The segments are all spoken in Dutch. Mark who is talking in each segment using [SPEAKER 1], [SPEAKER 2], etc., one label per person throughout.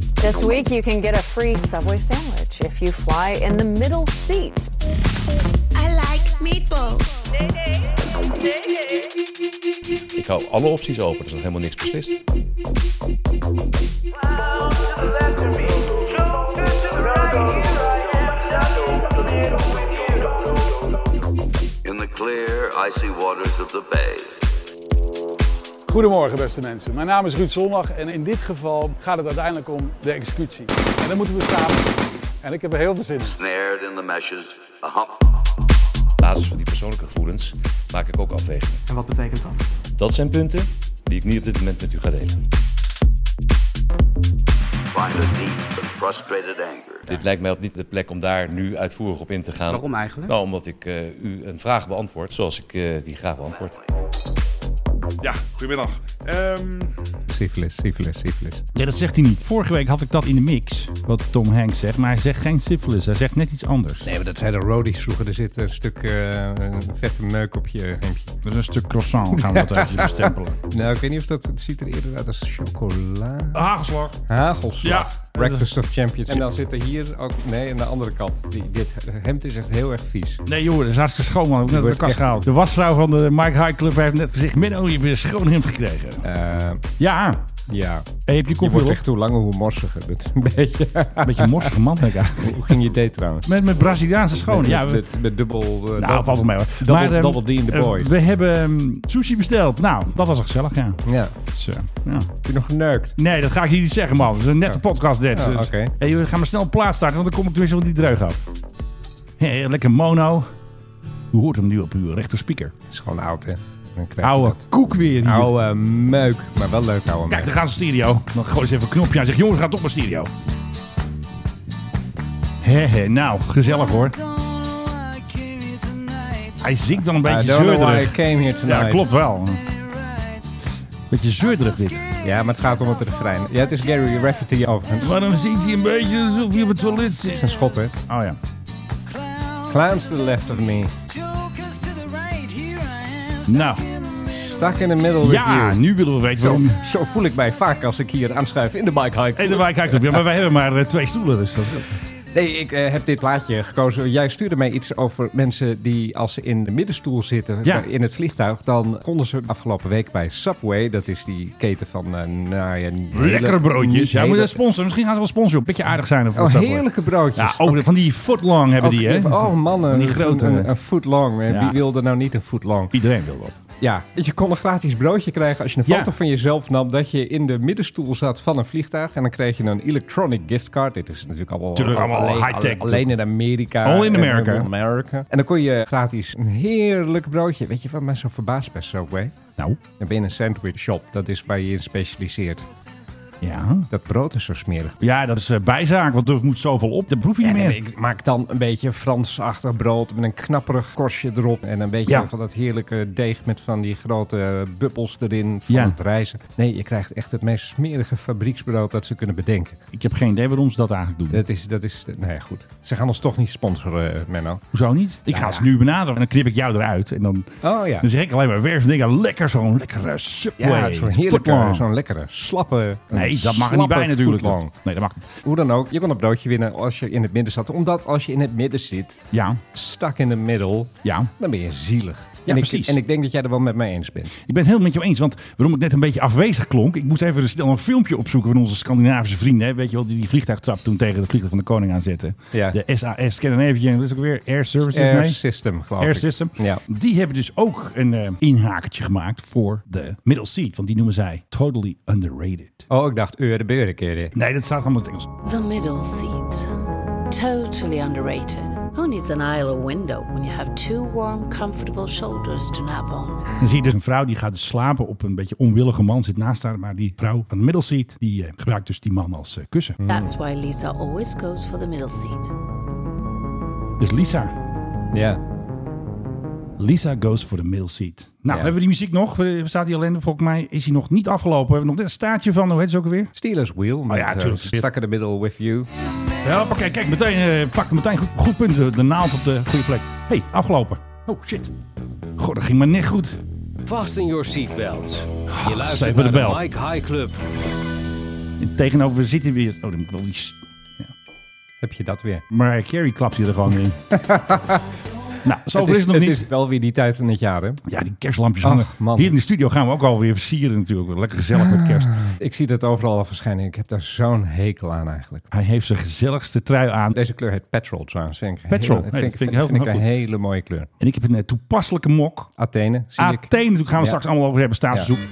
[SPEAKER 1] This week, you can get a free Subway sandwich if you fly in the middle seat.
[SPEAKER 2] I like meatballs.
[SPEAKER 3] Ik hou Nou, alle opties open, er is nog helemaal niks beslist.
[SPEAKER 4] In the clear, icy waters of the bay.
[SPEAKER 5] Goedemorgen beste mensen, mijn naam is Ruud Zondag en in dit geval gaat het uiteindelijk om de executie. En dat moeten we samen doen. En ik heb er heel veel zin in.
[SPEAKER 4] snared in the meshes, a hump,
[SPEAKER 3] Op basis van die persoonlijke gevoelens maak ik ook afwegingen.
[SPEAKER 6] En wat betekent dat?
[SPEAKER 3] Dat zijn punten die ik niet op dit moment met u ga delen.
[SPEAKER 4] find a deep and frustrated anger.
[SPEAKER 3] Dit lijkt mij op niet de plek om daar nu uitvoerig op in te gaan.
[SPEAKER 6] Waarom eigenlijk?
[SPEAKER 3] Nou, omdat ik eh, u een vraag beantwoord zoals ik eh, die graag beantwoord.
[SPEAKER 7] Ja, goedemiddag. Ehm,
[SPEAKER 8] Syphilis, syphilis, syphilis.
[SPEAKER 9] Nee, dat zegt hij niet. Vorige week had ik dat in de mix, wat Tom Hanks zegt. Maar hij zegt geen syphilis, hij zegt net iets anders.
[SPEAKER 8] Nee, maar dat zeiden roadies vroeger. Er zit een stuk eh, een vette neuk op je hemdje.
[SPEAKER 9] Dat is een stuk croissant, gaan we dat eigenlijk bestempelen.
[SPEAKER 8] Nou, ik weet niet of dat... Het ziet er eerder uit als chocola.
[SPEAKER 9] Hagelslag.
[SPEAKER 8] Hagelslag.
[SPEAKER 9] Ja.
[SPEAKER 8] Breakfast of Champions. En dan zit er hier ook... Nee, aan de andere kant. Die, dit hemd is echt heel erg vies.
[SPEAKER 9] Nee joh, dat is hartstikke schoon, man. Ik heb net uit
[SPEAKER 8] wordt
[SPEAKER 9] de kast
[SPEAKER 8] echt-
[SPEAKER 9] gehaald. De wasvrouw van de Mike High Club heeft net gezegd... Menno, je hebt weer een schoon hemd gekregen.
[SPEAKER 8] Eh,
[SPEAKER 9] Ja,
[SPEAKER 8] ja.
[SPEAKER 9] en heb je
[SPEAKER 8] Je
[SPEAKER 9] koffie
[SPEAKER 8] wordt
[SPEAKER 9] op?
[SPEAKER 8] echt hoe langer hoe morsiger. Dat is een beetje...
[SPEAKER 9] Een beetje een morsige man, denk ik eigenlijk.
[SPEAKER 8] hoe ging je date trouwens?
[SPEAKER 9] Met, met Braziliaanse schoon.
[SPEAKER 8] met,
[SPEAKER 9] Oh, Ja,
[SPEAKER 8] met,
[SPEAKER 9] we-
[SPEAKER 8] met, met dubbel... eh,
[SPEAKER 9] nou,
[SPEAKER 8] dubbel-
[SPEAKER 9] valt wel mee hoor.
[SPEAKER 8] Double,
[SPEAKER 9] ehm,
[SPEAKER 8] double D in the
[SPEAKER 9] eh,
[SPEAKER 8] boys.
[SPEAKER 9] we hebben ehm, sushi besteld. Nou, dat was wel gezellig, ja.
[SPEAKER 8] ja.
[SPEAKER 9] Dus, eh, ja.
[SPEAKER 8] Heb je nog geneukt?
[SPEAKER 9] Nee, dat ga ik hier niet zeggen, man. Het is een nette podcast, dit.
[SPEAKER 8] Ja,
[SPEAKER 9] Dus-
[SPEAKER 8] Oh. oké.
[SPEAKER 9] Hey, we gaan maar snel plaats starten, want dan kom ik tenminste van die dreug af. Hey, lekker mono. U hoort hem nu op uw rechter speaker.
[SPEAKER 8] is gewoon oud, hè? Dan krijg je
[SPEAKER 9] Oude
[SPEAKER 8] dat.
[SPEAKER 9] koek weer hier.
[SPEAKER 8] Oude meuk. Maar wel leuk, oude meuk.
[SPEAKER 9] Kijk, daar gaan ze stereo. Dan gooi ze even een knopje aan en zeg, jongens, we gaan toch maar stereo. Hé, hé, nou, gezellig hoor. Hij zingt dan een
[SPEAKER 8] I
[SPEAKER 9] beetje
[SPEAKER 8] don't know why I
[SPEAKER 9] zeurderig.
[SPEAKER 8] came here tonight.
[SPEAKER 9] Ja, klopt wel. Beetje zeurderig dit.
[SPEAKER 8] Ja, maar het gaat om het refrein. Ja, het is Gary Rafferty overigens. Het
[SPEAKER 9] Waarom zingt hij een beetje alsof hij op het toilet
[SPEAKER 8] is
[SPEAKER 9] zit?
[SPEAKER 8] een schot, hè?
[SPEAKER 9] Oh ja.
[SPEAKER 8] Clowns to the left of me.
[SPEAKER 9] Nou,
[SPEAKER 8] Stuck in the middle with
[SPEAKER 9] ja,
[SPEAKER 8] you.
[SPEAKER 9] nu willen we weten
[SPEAKER 8] Zo,
[SPEAKER 9] waarom...
[SPEAKER 8] zo voel ik mij vaak als ik hier aanschuif in de bike hike.
[SPEAKER 9] Hey, daar wij kijken op. Ja, maar wij hebben maar eh, twee stoelen, dus dat is goed.
[SPEAKER 8] Nee, ik eh, heb dit plaatje gekozen. Jij stuurde mij iets over mensen die als ze in de middenstoel zitten
[SPEAKER 9] Ja.
[SPEAKER 8] eh, in het vliegtuig, dan konden ze afgelopen week bij Subway, dat is die keten van, eh, nou ja, niet hele-
[SPEAKER 9] Lekkere broodjes.
[SPEAKER 8] niet
[SPEAKER 9] Ja,
[SPEAKER 8] hele-
[SPEAKER 9] moet dat sponsoren. Misschien gaan ze wel sponsoren. Een beetje aardig zijn.
[SPEAKER 8] Oh, heerlijke broodjes.
[SPEAKER 9] Ja, ook van die footlong hebben
[SPEAKER 8] Ook
[SPEAKER 9] die, hè?
[SPEAKER 8] even- Oh mannen,
[SPEAKER 9] Die grote.
[SPEAKER 8] een, een foot long.
[SPEAKER 9] Ja.
[SPEAKER 8] Wie wilde nou niet een foot long?
[SPEAKER 9] Iedereen wil dat.
[SPEAKER 8] Ja, dat je kon een gratis broodje krijgen als je een
[SPEAKER 9] Ja.
[SPEAKER 8] foto van jezelf nam dat je in de middenstoel zat van een vliegtuig en dan kreeg je een electronic giftcard. Dit is natuurlijk allemaal,
[SPEAKER 9] Tuurlijk, allemaal
[SPEAKER 8] alleen,
[SPEAKER 9] high-tech.
[SPEAKER 8] alleen in Amerika.
[SPEAKER 9] All in
[SPEAKER 8] En-
[SPEAKER 9] America.
[SPEAKER 8] en Eh, America. En dan kon je gratis een heerlijk broodje. Weet je wat mij zo verbaast bij Subway?
[SPEAKER 9] Nou,
[SPEAKER 8] Dan ben je in een sandwich shop. Dat is waar je je in specialiseert.
[SPEAKER 9] ja.
[SPEAKER 8] Dat brood is zo smerig.
[SPEAKER 9] Ja, dat is eh, bijzaak, want er moet zoveel op. Dat proef je niet
[SPEAKER 8] En
[SPEAKER 9] meer.
[SPEAKER 8] ik maak dan een beetje Fransachtig brood met een knapperig korstje erop. En een beetje
[SPEAKER 9] Ja.
[SPEAKER 8] van dat heerlijke deeg met van die grote bubbels erin van
[SPEAKER 9] Ja.
[SPEAKER 8] het rijzen. Nee, je krijgt echt het meest smerige fabrieksbrood dat ze kunnen bedenken.
[SPEAKER 9] Ik heb geen idee waarom ze dat eigenlijk doen.
[SPEAKER 8] Dat is, dat is, nou ja goed. Ze gaan ons toch niet sponsoren, eh, Menno.
[SPEAKER 9] Hoezo niet? Ik ga
[SPEAKER 8] Nou ja.
[SPEAKER 9] ze nu benaderen en dan knip ik jou eruit. En dan,
[SPEAKER 8] Oh ja.
[SPEAKER 9] dan zeg ik alleen maar weer van dingen. Lekker zo'n lekkere subway.
[SPEAKER 8] Ja, zo'n
[SPEAKER 9] footlong.
[SPEAKER 8] heerlijke, zo'n lekkere, slappe
[SPEAKER 9] Nee, dat mag er niet
[SPEAKER 8] slappe
[SPEAKER 9] bij natuurlijk.
[SPEAKER 8] footlong.
[SPEAKER 9] Nee, dat mag niet.
[SPEAKER 8] Hoe dan ook, je kon een broodje winnen als je in het midden zat. Omdat als je in het midden zit,
[SPEAKER 9] Ja,
[SPEAKER 8] stak in de middel,
[SPEAKER 9] ja.
[SPEAKER 8] dan ben je zielig.
[SPEAKER 9] Ja,
[SPEAKER 8] en
[SPEAKER 9] precies.
[SPEAKER 8] Ik, en ik denk dat jij er wel met mij eens bent.
[SPEAKER 9] Ik ben het helemaal met jou eens, want waarom ik net een beetje afwezig klonk. Ik moest even snel een filmpje opzoeken van onze Scandinavische vrienden. Hè. Weet je wel, die die vliegtuigtrap toen tegen het vliegtuig van de koning aan zetten.
[SPEAKER 8] Ja.
[SPEAKER 9] De SAS, ken dan even, dat is ook weer Air Services,
[SPEAKER 8] Air
[SPEAKER 9] nee?
[SPEAKER 8] System, geloof
[SPEAKER 9] Air
[SPEAKER 8] ik.
[SPEAKER 9] System.
[SPEAKER 8] Ja.
[SPEAKER 9] Die hebben dus ook een eh, inhakertje gemaakt voor de middle seat. Want die noemen zij totally underrated.
[SPEAKER 8] Oh, ik dacht Eure Beurenkeren.
[SPEAKER 9] Nee, dat staat allemaal in het Engels.
[SPEAKER 10] The middle seat. Totally underrated. Who needs an aisle or window when you have two warm, comfortable shoulders to nap on?
[SPEAKER 9] Dan zie je dus een vrouw die gaat dus slapen op een beetje onwillige man. Zit naast haar, maar die vrouw van de middle seat, die eh, gebruikt dus die man als eh, kussen.
[SPEAKER 10] That's why Lisa always goes for the middle seat.
[SPEAKER 9] Dus Lisa,
[SPEAKER 8] Ja.
[SPEAKER 9] Lisa goes for the middle seat. Nou,
[SPEAKER 8] Ja.
[SPEAKER 9] hebben we die muziek nog? We- Staat die alleen? Volgens mij is die nog niet afgelopen. We hebben nog net een staartje van, hoe heet ze ook alweer?
[SPEAKER 8] Steelers Wheel. Met,
[SPEAKER 9] Oh ja,
[SPEAKER 8] eh,
[SPEAKER 9] tuurlijk.
[SPEAKER 8] stuck in the middle with you.
[SPEAKER 9] Ja, kijk, kijk meteen, eh, pakte meteen goed, goed punt. De, de naald op de goede plek. Hé, hey, afgelopen. Oh, shit. Goh, dat ging maar net goed.
[SPEAKER 11] Fasten your seatbelts. Je
[SPEAKER 9] zeven
[SPEAKER 11] luistert
[SPEAKER 9] Ah, de
[SPEAKER 11] naar de
[SPEAKER 9] bel.
[SPEAKER 11] Mike High Club.
[SPEAKER 9] En tegenover we zitten weer. Oh, dan moet ik wel die. s-
[SPEAKER 8] Heb je dat weer?
[SPEAKER 9] Mariah Carey klapt hier er gewoon in. nou, zo
[SPEAKER 8] het
[SPEAKER 9] is
[SPEAKER 8] is,
[SPEAKER 9] het nog
[SPEAKER 8] het
[SPEAKER 9] niet.
[SPEAKER 8] is wel weer die tijd van het jaar, hè?
[SPEAKER 9] Ja, die kerstlampjes
[SPEAKER 8] Ach,
[SPEAKER 9] hangen.
[SPEAKER 8] man.
[SPEAKER 9] Hier in de studio gaan we ook alweer versieren natuurlijk. Lekker gezellig met kerst.
[SPEAKER 8] Ik zie dat overal al verschijnen. Ik heb daar zo'n hekel aan eigenlijk.
[SPEAKER 9] Hij heeft zijn gezelligste trui aan.
[SPEAKER 8] Deze kleur heet petrol trouwens. Vind ik
[SPEAKER 9] Petrol. Nee,
[SPEAKER 8] Heel, vind,
[SPEAKER 9] dat vind
[SPEAKER 8] ik- vind,
[SPEAKER 9] ik heel-
[SPEAKER 8] vind ik
[SPEAKER 9] heel
[SPEAKER 8] een
[SPEAKER 9] goed.
[SPEAKER 8] hele mooie kleur.
[SPEAKER 9] En ik heb een eh, toepasselijke mok.
[SPEAKER 8] Athene, zie ik.
[SPEAKER 9] Athene, natuurlijk gaan we
[SPEAKER 8] Ja.
[SPEAKER 9] straks allemaal over hebben, staatsbezoek.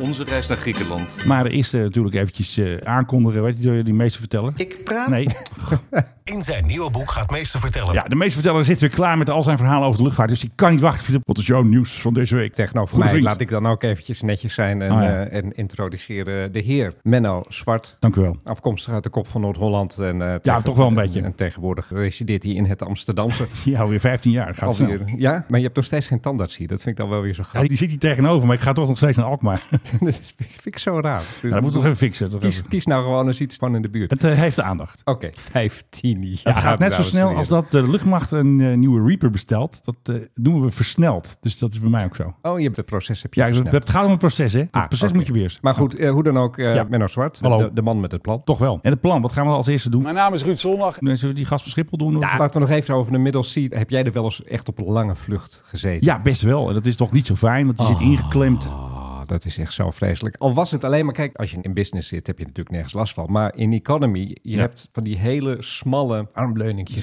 [SPEAKER 3] Onze reis naar Griekenland.
[SPEAKER 9] Maar eerst eh, natuurlijk eventjes eh, aankondigen, weet je, door die meester vertellen. Ik praat. Nee.
[SPEAKER 6] In zijn nieuwe boek gaat meester vertellen.
[SPEAKER 9] Ja, de meester verteller zit weer klaar met al zijn verhalen over de luchtvaart. Dus ik kan niet wachten, Filip. Wat is jouw nieuws van deze week?
[SPEAKER 8] Tegenover
[SPEAKER 9] Goede
[SPEAKER 8] mij
[SPEAKER 9] vriend.
[SPEAKER 8] laat ik dan ook eventjes netjes zijn en,
[SPEAKER 9] Ah, ja.
[SPEAKER 8] eh, en introduceren de heer Menno Zwart.
[SPEAKER 9] Dank u wel.
[SPEAKER 8] Afkomstig uit de kop van Noord-Holland. En, eh,
[SPEAKER 9] toch wel een beetje.
[SPEAKER 8] En, tegenwoordig resideert hij in het Amsterdamse.
[SPEAKER 9] Ja, alweer 15 jaar. Gaat snel.
[SPEAKER 8] Alweer. Ja, maar je hebt nog steeds geen tandarts hier. Dat vind ik dan wel weer zo
[SPEAKER 9] Ja,
[SPEAKER 8] grappig.
[SPEAKER 9] die zit hier tegenover, maar ik ga toch nog steeds naar Alkmaar. Ja,
[SPEAKER 8] dat vind ik zo raar.
[SPEAKER 9] dat moet ik nog even fixen. Nog
[SPEAKER 8] kies,
[SPEAKER 9] even.
[SPEAKER 8] kies nou gewoon eens iets van in de buurt.
[SPEAKER 9] Het eh, heeft de aandacht.
[SPEAKER 8] Oké, 15 jaar.
[SPEAKER 9] het gaat net zo
[SPEAKER 8] dames en
[SPEAKER 9] snel
[SPEAKER 8] heren.
[SPEAKER 9] als dat de luchtmacht een eh, nieuwe Reaper bestelt. Dat eh, doen we versneld. Dus dat is bij mij ook zo.
[SPEAKER 8] Oh, je hebt het proces heb je
[SPEAKER 9] Ja,
[SPEAKER 8] versneld.
[SPEAKER 9] het gaat om het proces, hè? Het
[SPEAKER 8] Ah,
[SPEAKER 9] proces
[SPEAKER 8] oké.
[SPEAKER 9] moet je beheersen.
[SPEAKER 8] Maar goed, eh, hoe dan ook, eh,
[SPEAKER 9] Ja.
[SPEAKER 8] Menno Zwart,
[SPEAKER 9] Hallo.
[SPEAKER 8] de, de man met het plan.
[SPEAKER 9] Toch wel. En het plan, wat gaan we als eerste doen?
[SPEAKER 5] Mijn naam is Ruud Zondag.
[SPEAKER 9] Nee, Zullen we die gast van Schiphol doen?
[SPEAKER 8] Ja, laten we nog even over de middels zien. Heb jij er wel eens echt op een lange vlucht gezeten?
[SPEAKER 9] Ja, best wel. En dat is toch niet zo fijn, want je zit ingeklemd.
[SPEAKER 8] Ah, dat is echt zo vreselijk. Al was het alleen maar, kijk, als je in business zit, heb je natuurlijk nergens last van. Maar in economy, je
[SPEAKER 9] Ja.
[SPEAKER 8] hebt van die hele smalle armleuningetjes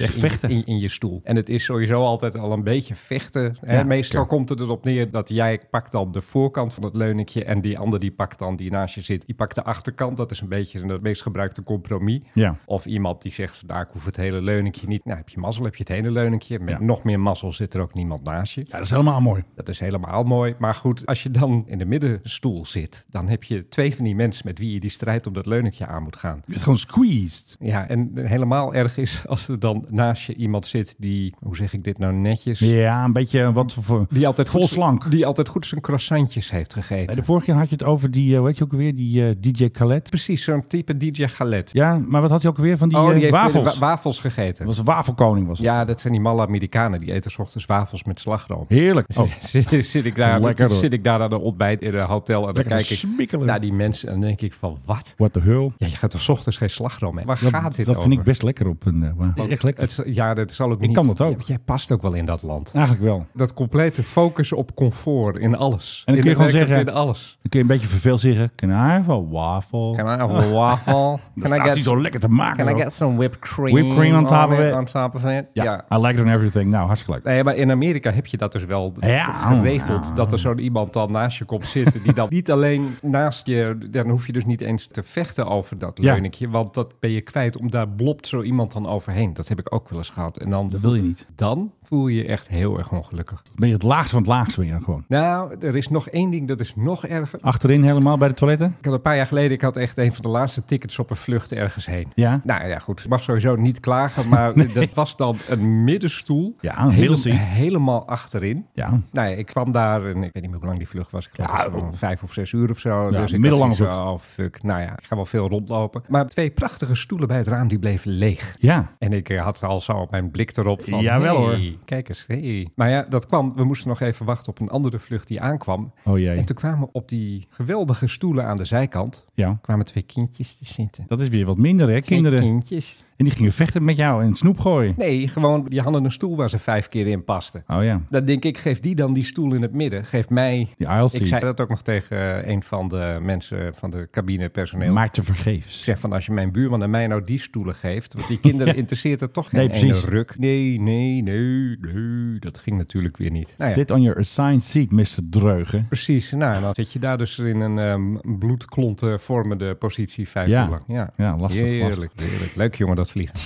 [SPEAKER 9] Het is echt
[SPEAKER 8] in,
[SPEAKER 9] vechten.
[SPEAKER 8] in, in je stoel. En het is sowieso altijd al een beetje vechten. hè.
[SPEAKER 9] Ja,
[SPEAKER 8] Meestal komt het erop neer dat jij pakt dan de voorkant van het leuningje en die ander die pakt dan die naast je zit. Die pakt de achterkant, dat is een beetje het meest gebruikte compromis.
[SPEAKER 9] Ja.
[SPEAKER 8] Of iemand die zegt, nou, ik hoef het hele leuningje niet. Nou, heb je mazzel, heb je het hele leuningje. Met
[SPEAKER 9] Ja.
[SPEAKER 8] nog meer mazzel zit er ook niemand naast je.
[SPEAKER 9] Ja, dat is helemaal mooi.
[SPEAKER 8] Dat is helemaal mooi. Maar goed, als je dan in de middenstoel zit, dan heb je twee van die mensen met wie je die strijd om dat leunetje aan moet gaan.
[SPEAKER 9] Je bent gewoon squeezed.
[SPEAKER 8] Ja, en helemaal erg is als er dan naast je iemand zit die, hoe zeg ik dit nou netjes?
[SPEAKER 9] Ja, een beetje eh, wat voor...
[SPEAKER 8] Die altijd
[SPEAKER 9] Vol
[SPEAKER 8] goed,
[SPEAKER 9] slank.
[SPEAKER 8] Die altijd goed zijn croissantjes heeft gegeten.
[SPEAKER 9] Nee, De vorige keer had je het over die, weet je ook weer, die eh, DJ Khaled.
[SPEAKER 8] Precies, zo'n type DJ Galet.
[SPEAKER 9] Ja, maar wat had hij ook weer van die,
[SPEAKER 8] oh,
[SPEAKER 9] eh,
[SPEAKER 8] die heeft
[SPEAKER 9] wafels?
[SPEAKER 8] wa-
[SPEAKER 9] Dat
[SPEAKER 8] wafels gegeten.
[SPEAKER 9] was een wafelkoning was het.
[SPEAKER 8] Ja, dat zijn die malle Amerikanen. Die eten 's ochtends wafels met slagroom.
[SPEAKER 9] Heerlijk. Oh,
[SPEAKER 8] zit, zit ik daar,
[SPEAKER 9] Lekker, hoor.
[SPEAKER 8] zit ik daar aan een ontbijt in een hotel en dan
[SPEAKER 9] Lekker
[SPEAKER 8] kijk
[SPEAKER 9] te
[SPEAKER 8] ik
[SPEAKER 9] smikkelen.
[SPEAKER 8] naar die mensen en dan denk ik van wat?
[SPEAKER 9] what the hell.
[SPEAKER 8] Ja, je gaat toch 's ochtends geen slagroom mee? Waar
[SPEAKER 9] Dat,
[SPEAKER 8] gaat dit
[SPEAKER 9] dat
[SPEAKER 8] over?
[SPEAKER 9] vind ik best lekker op een... eh, wa- Het is echt lekker.
[SPEAKER 8] Het, ja, dat zal ook niet.
[SPEAKER 9] kan dat ook.
[SPEAKER 8] Ja, jij past ook wel in dat land.
[SPEAKER 9] Eigenlijk wel.
[SPEAKER 8] Dat complete focus op comfort in alles.
[SPEAKER 9] En dan kun je gewoon
[SPEAKER 8] In werkelijk
[SPEAKER 9] zeggen-
[SPEAKER 8] In alles.
[SPEAKER 9] Dan kun je een beetje verveeld zeggen, can I have a waffle?
[SPEAKER 8] Can I have a waffle?
[SPEAKER 9] Dat
[SPEAKER 8] Can I
[SPEAKER 9] Oh. staat
[SPEAKER 8] get,
[SPEAKER 9] hij zo lekker te maken.
[SPEAKER 8] can I
[SPEAKER 9] hoor.
[SPEAKER 8] get some whipped cream?
[SPEAKER 9] Whipped cream on top of it.
[SPEAKER 8] On top of it?
[SPEAKER 9] Ja,
[SPEAKER 8] ja.
[SPEAKER 9] I like it on everything. Nou, hartstikke leuk.
[SPEAKER 8] Nee, maar in Amerika heb je dat dus wel
[SPEAKER 9] Ja.
[SPEAKER 8] geregeld. Dat er zo'n iemand dan naast je komt zitten. Die dan niet alleen naast je... Dan hoef je dus niet eens te vechten over dat
[SPEAKER 9] Ja.
[SPEAKER 8] leuningje. Want dat ben je kwijt. Om daar blopt zo iemand dan overheen. Dat heb ik ook wel eens gehad. En dan,
[SPEAKER 9] Dat wil je niet.
[SPEAKER 8] dan voel je je echt heel erg ongelukkig.
[SPEAKER 9] Dan ben je het laagste van het laagste ben je dan gewoon.
[SPEAKER 8] Nou, er is nog één ding. Dat is nog erger.
[SPEAKER 9] Achterin helemaal bij de toiletten.
[SPEAKER 8] Ik had een paar jaar geleden, ik had echt een van de laatste tickets op een vlucht ergens heen.
[SPEAKER 9] Ja.
[SPEAKER 8] Nou ja, goed. Ik mag sowieso niet klagen, maar dat was dan een middenstoel.
[SPEAKER 9] Ja, een middelseat.
[SPEAKER 8] Helemaal achterin.
[SPEAKER 9] Ja.
[SPEAKER 8] Nou ja, ik kwam daar en ik weet niet meer hoe lang die vlucht was. Ik geloof
[SPEAKER 9] Ja, oh.
[SPEAKER 8] dat het was om vijf of zes uur of zo. dus ik
[SPEAKER 9] middellange
[SPEAKER 8] had zoiets van, Oh, fuck. Nou ja, ik ga wel veel rondlopen. Maar twee prachtige stoelen bij het raam, die bleven leeg.
[SPEAKER 9] Ja.
[SPEAKER 8] En ik eh, had al zo mijn blik erop van...
[SPEAKER 9] Jawel,
[SPEAKER 8] hey,
[SPEAKER 9] hoor.
[SPEAKER 8] Kijk eens, hey. Maar ja, dat kwam. We moesten nog even wachten op een andere vlucht die aankwam.
[SPEAKER 9] Oh jee.
[SPEAKER 8] En toen kwamen op die geweldige stoelen aan de zijkant
[SPEAKER 9] Ja.
[SPEAKER 8] kwamen twee kindjes te zitten.
[SPEAKER 9] Dat is weer wat minder, hè,
[SPEAKER 8] Twee
[SPEAKER 9] kinderen.
[SPEAKER 8] kindjes?
[SPEAKER 9] En die gingen vechten met jou en snoep gooien.
[SPEAKER 8] Nee, gewoon die hadden een stoel waar ze vijf keer in pasten.
[SPEAKER 9] Oh ja.
[SPEAKER 8] Dan denk ik, geef die dan die stoel in het midden. Geef mij...
[SPEAKER 9] Die aisle
[SPEAKER 8] Ik zei dat ook nog tegen eh, een van de mensen van de cabinepersoneel.
[SPEAKER 9] Maar te vergeefs.
[SPEAKER 8] Ik zeg van, als je mijn buurman en mij nou die stoelen geeft... want die kinderen interesseert er toch
[SPEAKER 9] Nee,
[SPEAKER 8] geen ene
[SPEAKER 9] precies.
[SPEAKER 8] ruk. Nee, nee, nee, nee, dat ging natuurlijk weer niet. Nou ja,
[SPEAKER 9] Sit on your assigned seat, Mr. Dreugen.
[SPEAKER 8] Precies, nou, en dan zit je daar dus in een ehm bloedklonten vormende positie vijf
[SPEAKER 9] Ja.
[SPEAKER 8] uur lang.
[SPEAKER 9] Ja, lastig,
[SPEAKER 8] Heerlijk, heerlijk. Leuk jongen, dat vliegen.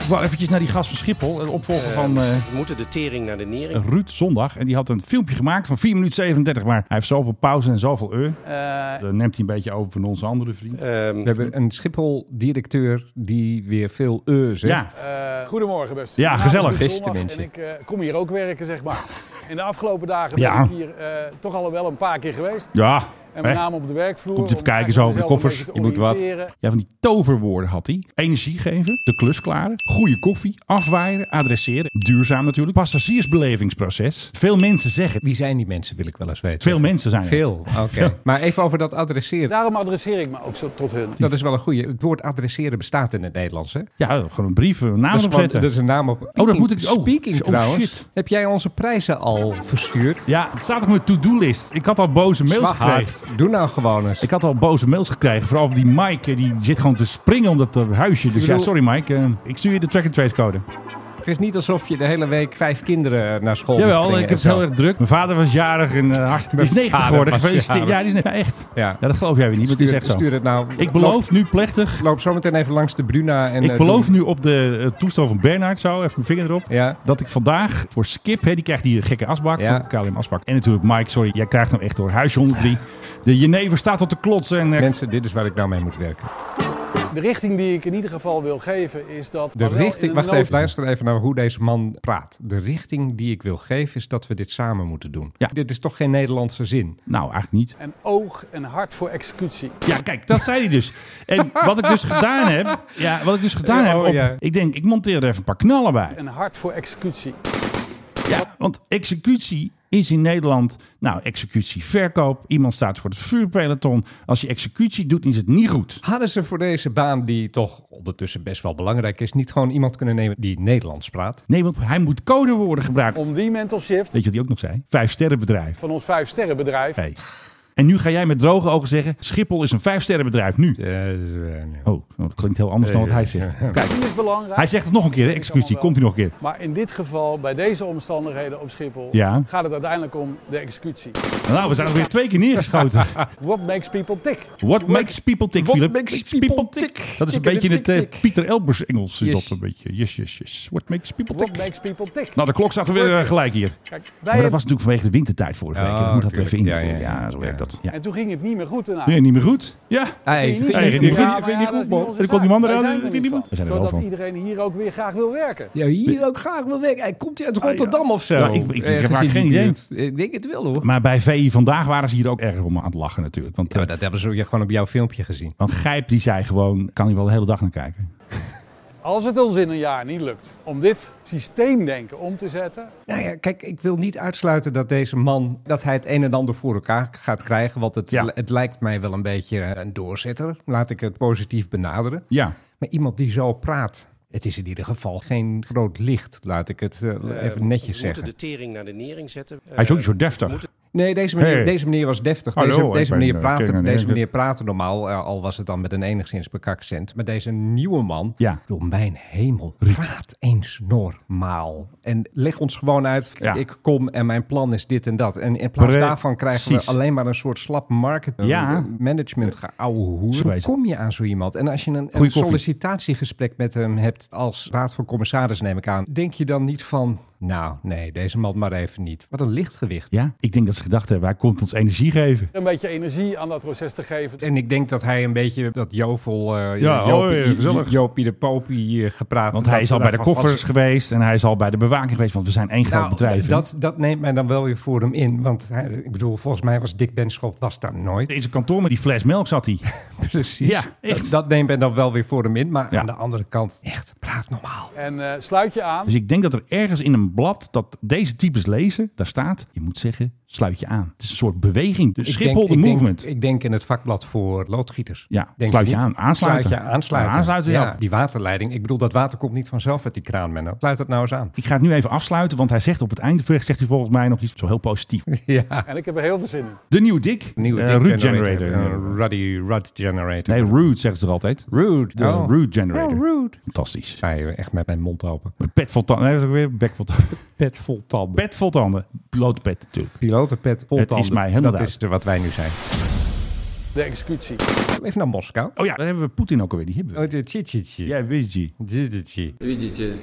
[SPEAKER 9] Ik wou eventjes naar die gast van Schiphol, de opvolger van eh,
[SPEAKER 11] We moeten de tering naar de nering.
[SPEAKER 9] Ruud Zondag. En die had een filmpje gemaakt van 4 minuten 37, maar hij heeft zoveel pauze en zoveel uur. Dan neemt hij een beetje over van onze andere vriend.
[SPEAKER 8] We hebben een Schiphol-directeur die weer veel eh zegt.
[SPEAKER 9] ja,
[SPEAKER 5] Eh, goedemorgen beste.
[SPEAKER 9] Ja,
[SPEAKER 5] Mijn naam is
[SPEAKER 9] gezellig.
[SPEAKER 5] Ruud
[SPEAKER 8] Beste
[SPEAKER 5] Zondag
[SPEAKER 8] mensen.
[SPEAKER 5] En ik eh, kom hier ook werken, zeg maar. In de afgelopen dagen
[SPEAKER 9] Ja.
[SPEAKER 5] ben ik hier eh, toch al wel een paar keer geweest.
[SPEAKER 9] ja,
[SPEAKER 5] En
[SPEAKER 9] Hè?
[SPEAKER 5] met name op de werkvloer.
[SPEAKER 9] Komt je
[SPEAKER 5] om
[SPEAKER 9] even kijken zo,
[SPEAKER 5] eigenlijk
[SPEAKER 9] de
[SPEAKER 5] mezelf
[SPEAKER 9] koffers,
[SPEAKER 5] een beetje
[SPEAKER 9] je
[SPEAKER 5] te
[SPEAKER 9] moet wat.
[SPEAKER 5] oriënteren.
[SPEAKER 9] Ja, van die toverwoorden had hij. Energie geven, de klus klaren, goede koffie, afwaaien, adresseren. Duurzaam natuurlijk. Passagiersbelevingsproces. Veel mensen zeggen.
[SPEAKER 8] Wie zijn die mensen, wil ik wel eens weten.
[SPEAKER 9] Veel mensen zijn er.
[SPEAKER 8] Veel, oké. Maar even over dat adresseren.
[SPEAKER 5] Daarom adresseer ik me ook zo tot hun.
[SPEAKER 8] Dat is wel een goeie. Het woord adresseren bestaat in het Nederlands, hè?
[SPEAKER 9] Ja, gewoon een brief, een naam
[SPEAKER 8] Dat is, gewoon-
[SPEAKER 9] opzetten.
[SPEAKER 8] dat is een naam op.
[SPEAKER 9] dat moet ik- oh,
[SPEAKER 8] Speaking
[SPEAKER 9] oh,
[SPEAKER 8] trouwens.
[SPEAKER 9] shit.
[SPEAKER 8] Heb jij onze prijzen al verstuurd?
[SPEAKER 9] Ja, het staat op mijn to-do-list. Ik had al boze mails gekregen.
[SPEAKER 8] Zwaghard. Doe nou gewoon eens.
[SPEAKER 9] Ik had al boze mails gekregen. Vooral over die Mike. eh, Die zit gewoon te springen om dat eh, huisje. Dus ja,
[SPEAKER 8] bedoel-
[SPEAKER 9] sorry Mike. eh, ik stuur je de track-and-trace code.
[SPEAKER 8] Het is niet alsof je de hele week vijf kinderen naar school moet
[SPEAKER 9] Jawel,
[SPEAKER 8] brengen
[SPEAKER 9] ik heb
[SPEAKER 8] en
[SPEAKER 9] het
[SPEAKER 8] zo.
[SPEAKER 9] heel erg druk. Mijn vader was jarig en eh, hart- die is 90
[SPEAKER 8] vader
[SPEAKER 9] geworden.
[SPEAKER 8] was
[SPEAKER 9] Gefeliciteerd.
[SPEAKER 8] jarig.
[SPEAKER 9] Ja, die is ne- ja, echt.
[SPEAKER 8] Ja.
[SPEAKER 9] Ja, dat geloof jij weer niet, maar het is
[SPEAKER 8] Stuur,
[SPEAKER 9] echt zo.
[SPEAKER 8] stuur het nou.
[SPEAKER 9] Ik beloof nu plechtig.
[SPEAKER 8] Loop, loop zo meteen even langs de Bruna. En,
[SPEAKER 9] Ik
[SPEAKER 8] eh,
[SPEAKER 9] beloof
[SPEAKER 8] doe-
[SPEAKER 9] nu op de eh, toestel van Bernard zo, even mijn vinger erop.
[SPEAKER 8] Ja.
[SPEAKER 9] Dat ik vandaag voor Skip, hè, die krijgt die gekke asbak
[SPEAKER 8] Ja.
[SPEAKER 9] van KLM Asbak. En natuurlijk Mike, sorry, jij krijgt hem echt door huisje 103. De jenever staat tot te klotsen. En, eh,
[SPEAKER 8] Mensen, dit is waar ik nou mee moet werken.
[SPEAKER 5] De richting die ik in ieder geval wil geven is dat...
[SPEAKER 8] De
[SPEAKER 5] maar wel in
[SPEAKER 8] richting,
[SPEAKER 5] een
[SPEAKER 8] wacht
[SPEAKER 5] nood-
[SPEAKER 8] even, luister even naar hoe deze man praat. De richting die ik wil geven is dat we dit samen moeten doen.
[SPEAKER 9] Ja.
[SPEAKER 8] Dit is toch geen Nederlandse zin?
[SPEAKER 9] nou, eigenlijk niet.
[SPEAKER 5] En oog en hart voor executie.
[SPEAKER 9] Ja, kijk, dat zei hij dus. En wat ik dus gedaan heb, ja, wat ik dus gedaan heb,
[SPEAKER 8] Oh,
[SPEAKER 9] op-
[SPEAKER 8] ja.
[SPEAKER 9] ik denk, ik monteer er even een paar knallen bij.
[SPEAKER 5] En hart voor executie.
[SPEAKER 9] Ja, want executie is in Nederland, nou, executie, verkoop. Iemand staat voor het vuurpeloton. Als je executie doet, is het niet goed.
[SPEAKER 8] Hadden ze voor deze baan, die toch ondertussen best wel belangrijk is, niet gewoon iemand kunnen nemen die Nederlands praat?
[SPEAKER 9] Nee, want hij moet codewoorden gebruiken.
[SPEAKER 5] Om die mental shift
[SPEAKER 9] Weet je wat hij ook nog zei? Vijf sterrenbedrijf.
[SPEAKER 5] van ons vijf sterrenbedrijf.
[SPEAKER 9] Hey. En nu ga jij met droge ogen zeggen, Schiphol is een vijf sterrenbedrijf nu.
[SPEAKER 8] Eh, eh, nee.
[SPEAKER 9] Oh, dat klinkt heel anders dan wat
[SPEAKER 8] Eh,
[SPEAKER 9] hij zegt. Kijk,
[SPEAKER 5] Die is belangrijk.
[SPEAKER 9] hij zegt het nog een keer, hè? executie, komt hij nog een keer.
[SPEAKER 5] Maar in dit geval, bij deze omstandigheden op Schiphol,
[SPEAKER 9] Ja.
[SPEAKER 5] gaat het uiteindelijk om de executie.
[SPEAKER 9] Nou, we zijn alweer twee keer neergeschoten.
[SPEAKER 5] What makes people tick?
[SPEAKER 9] What makes people tick,
[SPEAKER 8] What
[SPEAKER 9] Philip?
[SPEAKER 8] makes people tick?
[SPEAKER 9] Dat is een
[SPEAKER 8] Tick
[SPEAKER 9] beetje in
[SPEAKER 8] tick
[SPEAKER 9] het eh,
[SPEAKER 8] tick.
[SPEAKER 9] Pieter Elbers Engels. Is
[SPEAKER 8] Yes.
[SPEAKER 9] dat een beetje? Yes, yes, yes. What makes people
[SPEAKER 5] What
[SPEAKER 9] tick?
[SPEAKER 5] makes people tick?
[SPEAKER 9] Nou, de klok staat er weer eh, gelijk hier.
[SPEAKER 5] Kijk, wij
[SPEAKER 9] Maar dat
[SPEAKER 5] hebben-
[SPEAKER 9] was natuurlijk vanwege de wintertijd vorige week.
[SPEAKER 8] Ja,
[SPEAKER 9] Ik moet dat er even in.
[SPEAKER 8] tuurlijk.
[SPEAKER 9] Ja,
[SPEAKER 8] Ja,
[SPEAKER 9] ja,
[SPEAKER 8] ja, ja.
[SPEAKER 9] zo werkt dat. Ja.
[SPEAKER 5] En toen ging het niet meer goed daarna.
[SPEAKER 9] Nee, niet meer goed. Ja.
[SPEAKER 8] Hey,
[SPEAKER 5] Ging het
[SPEAKER 9] Hey,
[SPEAKER 5] goed.
[SPEAKER 9] niet goed.
[SPEAKER 5] Ja,
[SPEAKER 9] Vind je
[SPEAKER 5] maar
[SPEAKER 9] niet
[SPEAKER 5] ja,
[SPEAKER 9] goed,
[SPEAKER 5] dat is
[SPEAKER 9] man?
[SPEAKER 5] niet onze
[SPEAKER 9] En er komt die
[SPEAKER 5] zaak.
[SPEAKER 9] man eraan,
[SPEAKER 5] Wij Dus zijn
[SPEAKER 9] eh,
[SPEAKER 5] er
[SPEAKER 9] die
[SPEAKER 5] niet
[SPEAKER 9] man.
[SPEAKER 5] van.
[SPEAKER 9] We zijn er wel
[SPEAKER 5] Zodat
[SPEAKER 9] van.
[SPEAKER 5] iedereen hier ook weer graag wil werken.
[SPEAKER 8] Ja, hier ook graag wel weg. Hij komt hier uit Rotterdam of zo.
[SPEAKER 9] Ah, Ja, ik- ik- ik heb
[SPEAKER 8] Ergens
[SPEAKER 9] maar
[SPEAKER 8] in
[SPEAKER 9] geen
[SPEAKER 8] die
[SPEAKER 9] idee.
[SPEAKER 8] buurt. Ik denk het wel hoor.
[SPEAKER 9] Maar bij VI vandaag waren ze hier ook erg om aan het lachen natuurlijk. Want, eh,
[SPEAKER 8] Ja, dat hebben ze ook gewoon op jouw filmpje gezien.
[SPEAKER 9] want Gijp die zei gewoon, kan hij wel de hele dag naar kijken.
[SPEAKER 5] Als het ons in een jaar niet lukt om dit systeemdenken om te zetten,
[SPEAKER 8] Nou ja, kijk, ik wil niet uitsluiten dat deze man dat hij het een en ander voor elkaar gaat krijgen. Want het,
[SPEAKER 9] Ja.
[SPEAKER 8] het lijkt mij wel een beetje een doorzetter. Laat ik het positief benaderen.
[SPEAKER 9] Ja.
[SPEAKER 8] Maar iemand die zo praat, het is in ieder geval geen groot licht, laat ik het eh, even netjes zeggen.
[SPEAKER 9] Hij is ook niet zo deftig.
[SPEAKER 8] Nee, deze meneer,
[SPEAKER 9] Hey.
[SPEAKER 8] deze meneer was deftig.
[SPEAKER 9] Hallo,
[SPEAKER 8] deze,
[SPEAKER 9] ik
[SPEAKER 8] deze,
[SPEAKER 9] ben,
[SPEAKER 8] meneer
[SPEAKER 9] eh,
[SPEAKER 8] praatte,
[SPEAKER 9] King en
[SPEAKER 8] deze
[SPEAKER 9] Henk.
[SPEAKER 8] meneer praatte normaal, eh, al was het dan met een enigszins bekaccent. Maar deze nieuwe man,
[SPEAKER 9] Ja.
[SPEAKER 8] door mijn hemel, praat eens normaal. En leg ons gewoon uit,
[SPEAKER 9] Ja.
[SPEAKER 8] ik kom en mijn plan is dit en dat. En in plaats
[SPEAKER 9] Precies.
[SPEAKER 8] daarvan krijgen we alleen maar een soort slap market
[SPEAKER 9] Ja.
[SPEAKER 8] eh, management geouwehoer.
[SPEAKER 9] Zo
[SPEAKER 8] Hoe
[SPEAKER 9] is het.
[SPEAKER 8] kom je aan zo iemand? En als je een, een
[SPEAKER 9] Goeie koffie.
[SPEAKER 8] sollicitatiegesprek met hem hebt als raad van commissaris, neem ik aan. Denk je dan niet van, nou nee, deze man maar even niet. Wat een lichtgewicht.
[SPEAKER 9] Ja, ik denk dat ze gedacht hebben, hij komt ons energie geven.
[SPEAKER 5] een beetje energie aan dat proces te geven.
[SPEAKER 8] En ik denk dat hij een beetje dat jovel, eh
[SPEAKER 9] Ja,
[SPEAKER 8] Jopie,
[SPEAKER 9] oh, ja, gezellig.
[SPEAKER 8] Jopie de Popie eh, gepraat.
[SPEAKER 9] Want hij is al bij de koffers geweest en hij is al bij de bewaking geweest. Want we zijn één groot
[SPEAKER 8] Nou,
[SPEAKER 9] bedrijf. hè?
[SPEAKER 8] dat, dat neemt mij dan wel weer voor hem in. Want hij, ik bedoel, volgens mij was Dick Benschop was daar nooit.
[SPEAKER 9] In zijn kantoor met die fles melk zat hij.
[SPEAKER 8] Precies.
[SPEAKER 9] Ja,
[SPEAKER 8] Dat,
[SPEAKER 9] echt.
[SPEAKER 8] dat neemt mij dan wel weer voor hem in. Maar
[SPEAKER 9] Ja.
[SPEAKER 8] aan de andere kant, echt, praat normaal.
[SPEAKER 5] En eh, sluit je aan.
[SPEAKER 9] Dus ik denk dat er ergens in een blad dat deze types lezen, daar staat, je moet zeggen, sluit je aan. Het is een soort beweging. Dus Schiphol, de
[SPEAKER 8] ik
[SPEAKER 9] movement.
[SPEAKER 8] Denk, ik denk in het vakblad voor loodgieters.
[SPEAKER 9] Ja,
[SPEAKER 8] denk
[SPEAKER 9] sluit je
[SPEAKER 8] niet?
[SPEAKER 9] aan, aansluiten.
[SPEAKER 8] Sluit je aansluiten.
[SPEAKER 9] Aansluiten, ja.
[SPEAKER 8] Die waterleiding. Ik bedoel, dat water komt niet vanzelf uit die kraan, Menno. Sluit het nou eens aan.
[SPEAKER 9] ik ga het nu even afsluiten, want hij zegt op het einde, zegt hij volgens mij nog iets zo heel positief.
[SPEAKER 8] ja.
[SPEAKER 5] En ik heb er heel veel zin in.
[SPEAKER 9] De nieuwe dik.
[SPEAKER 8] Nieuwe
[SPEAKER 9] Eh,
[SPEAKER 8] dick
[SPEAKER 9] root
[SPEAKER 8] generator.
[SPEAKER 9] generator.
[SPEAKER 8] Eh, ruddy Rud Generator.
[SPEAKER 9] nee, root zeggen ze er altijd.
[SPEAKER 8] Rude.
[SPEAKER 9] De root generator.
[SPEAKER 8] Oh, rude.
[SPEAKER 9] Fantastisch.
[SPEAKER 8] Ga je echt met mijn mond open.
[SPEAKER 9] Mijn Pet vol tanden. Nee, dat is ook weer bek vol tanden.
[SPEAKER 8] Pet vol tanden.
[SPEAKER 9] Pet vol tanden. Pilotenpet natuurlijk.
[SPEAKER 8] Pilotenpet vol
[SPEAKER 9] Het
[SPEAKER 8] tanden.
[SPEAKER 9] is mij helemaal
[SPEAKER 8] Dat is de, wat wij nu zijn.
[SPEAKER 5] De executie.
[SPEAKER 8] Even naar Moskou.
[SPEAKER 9] Oh ja, daar hebben we Poetin ook alweer. Die hebben we.
[SPEAKER 8] Oh, de tji tji tji.
[SPEAKER 9] Ja, weet je.
[SPEAKER 8] Tji tji tji.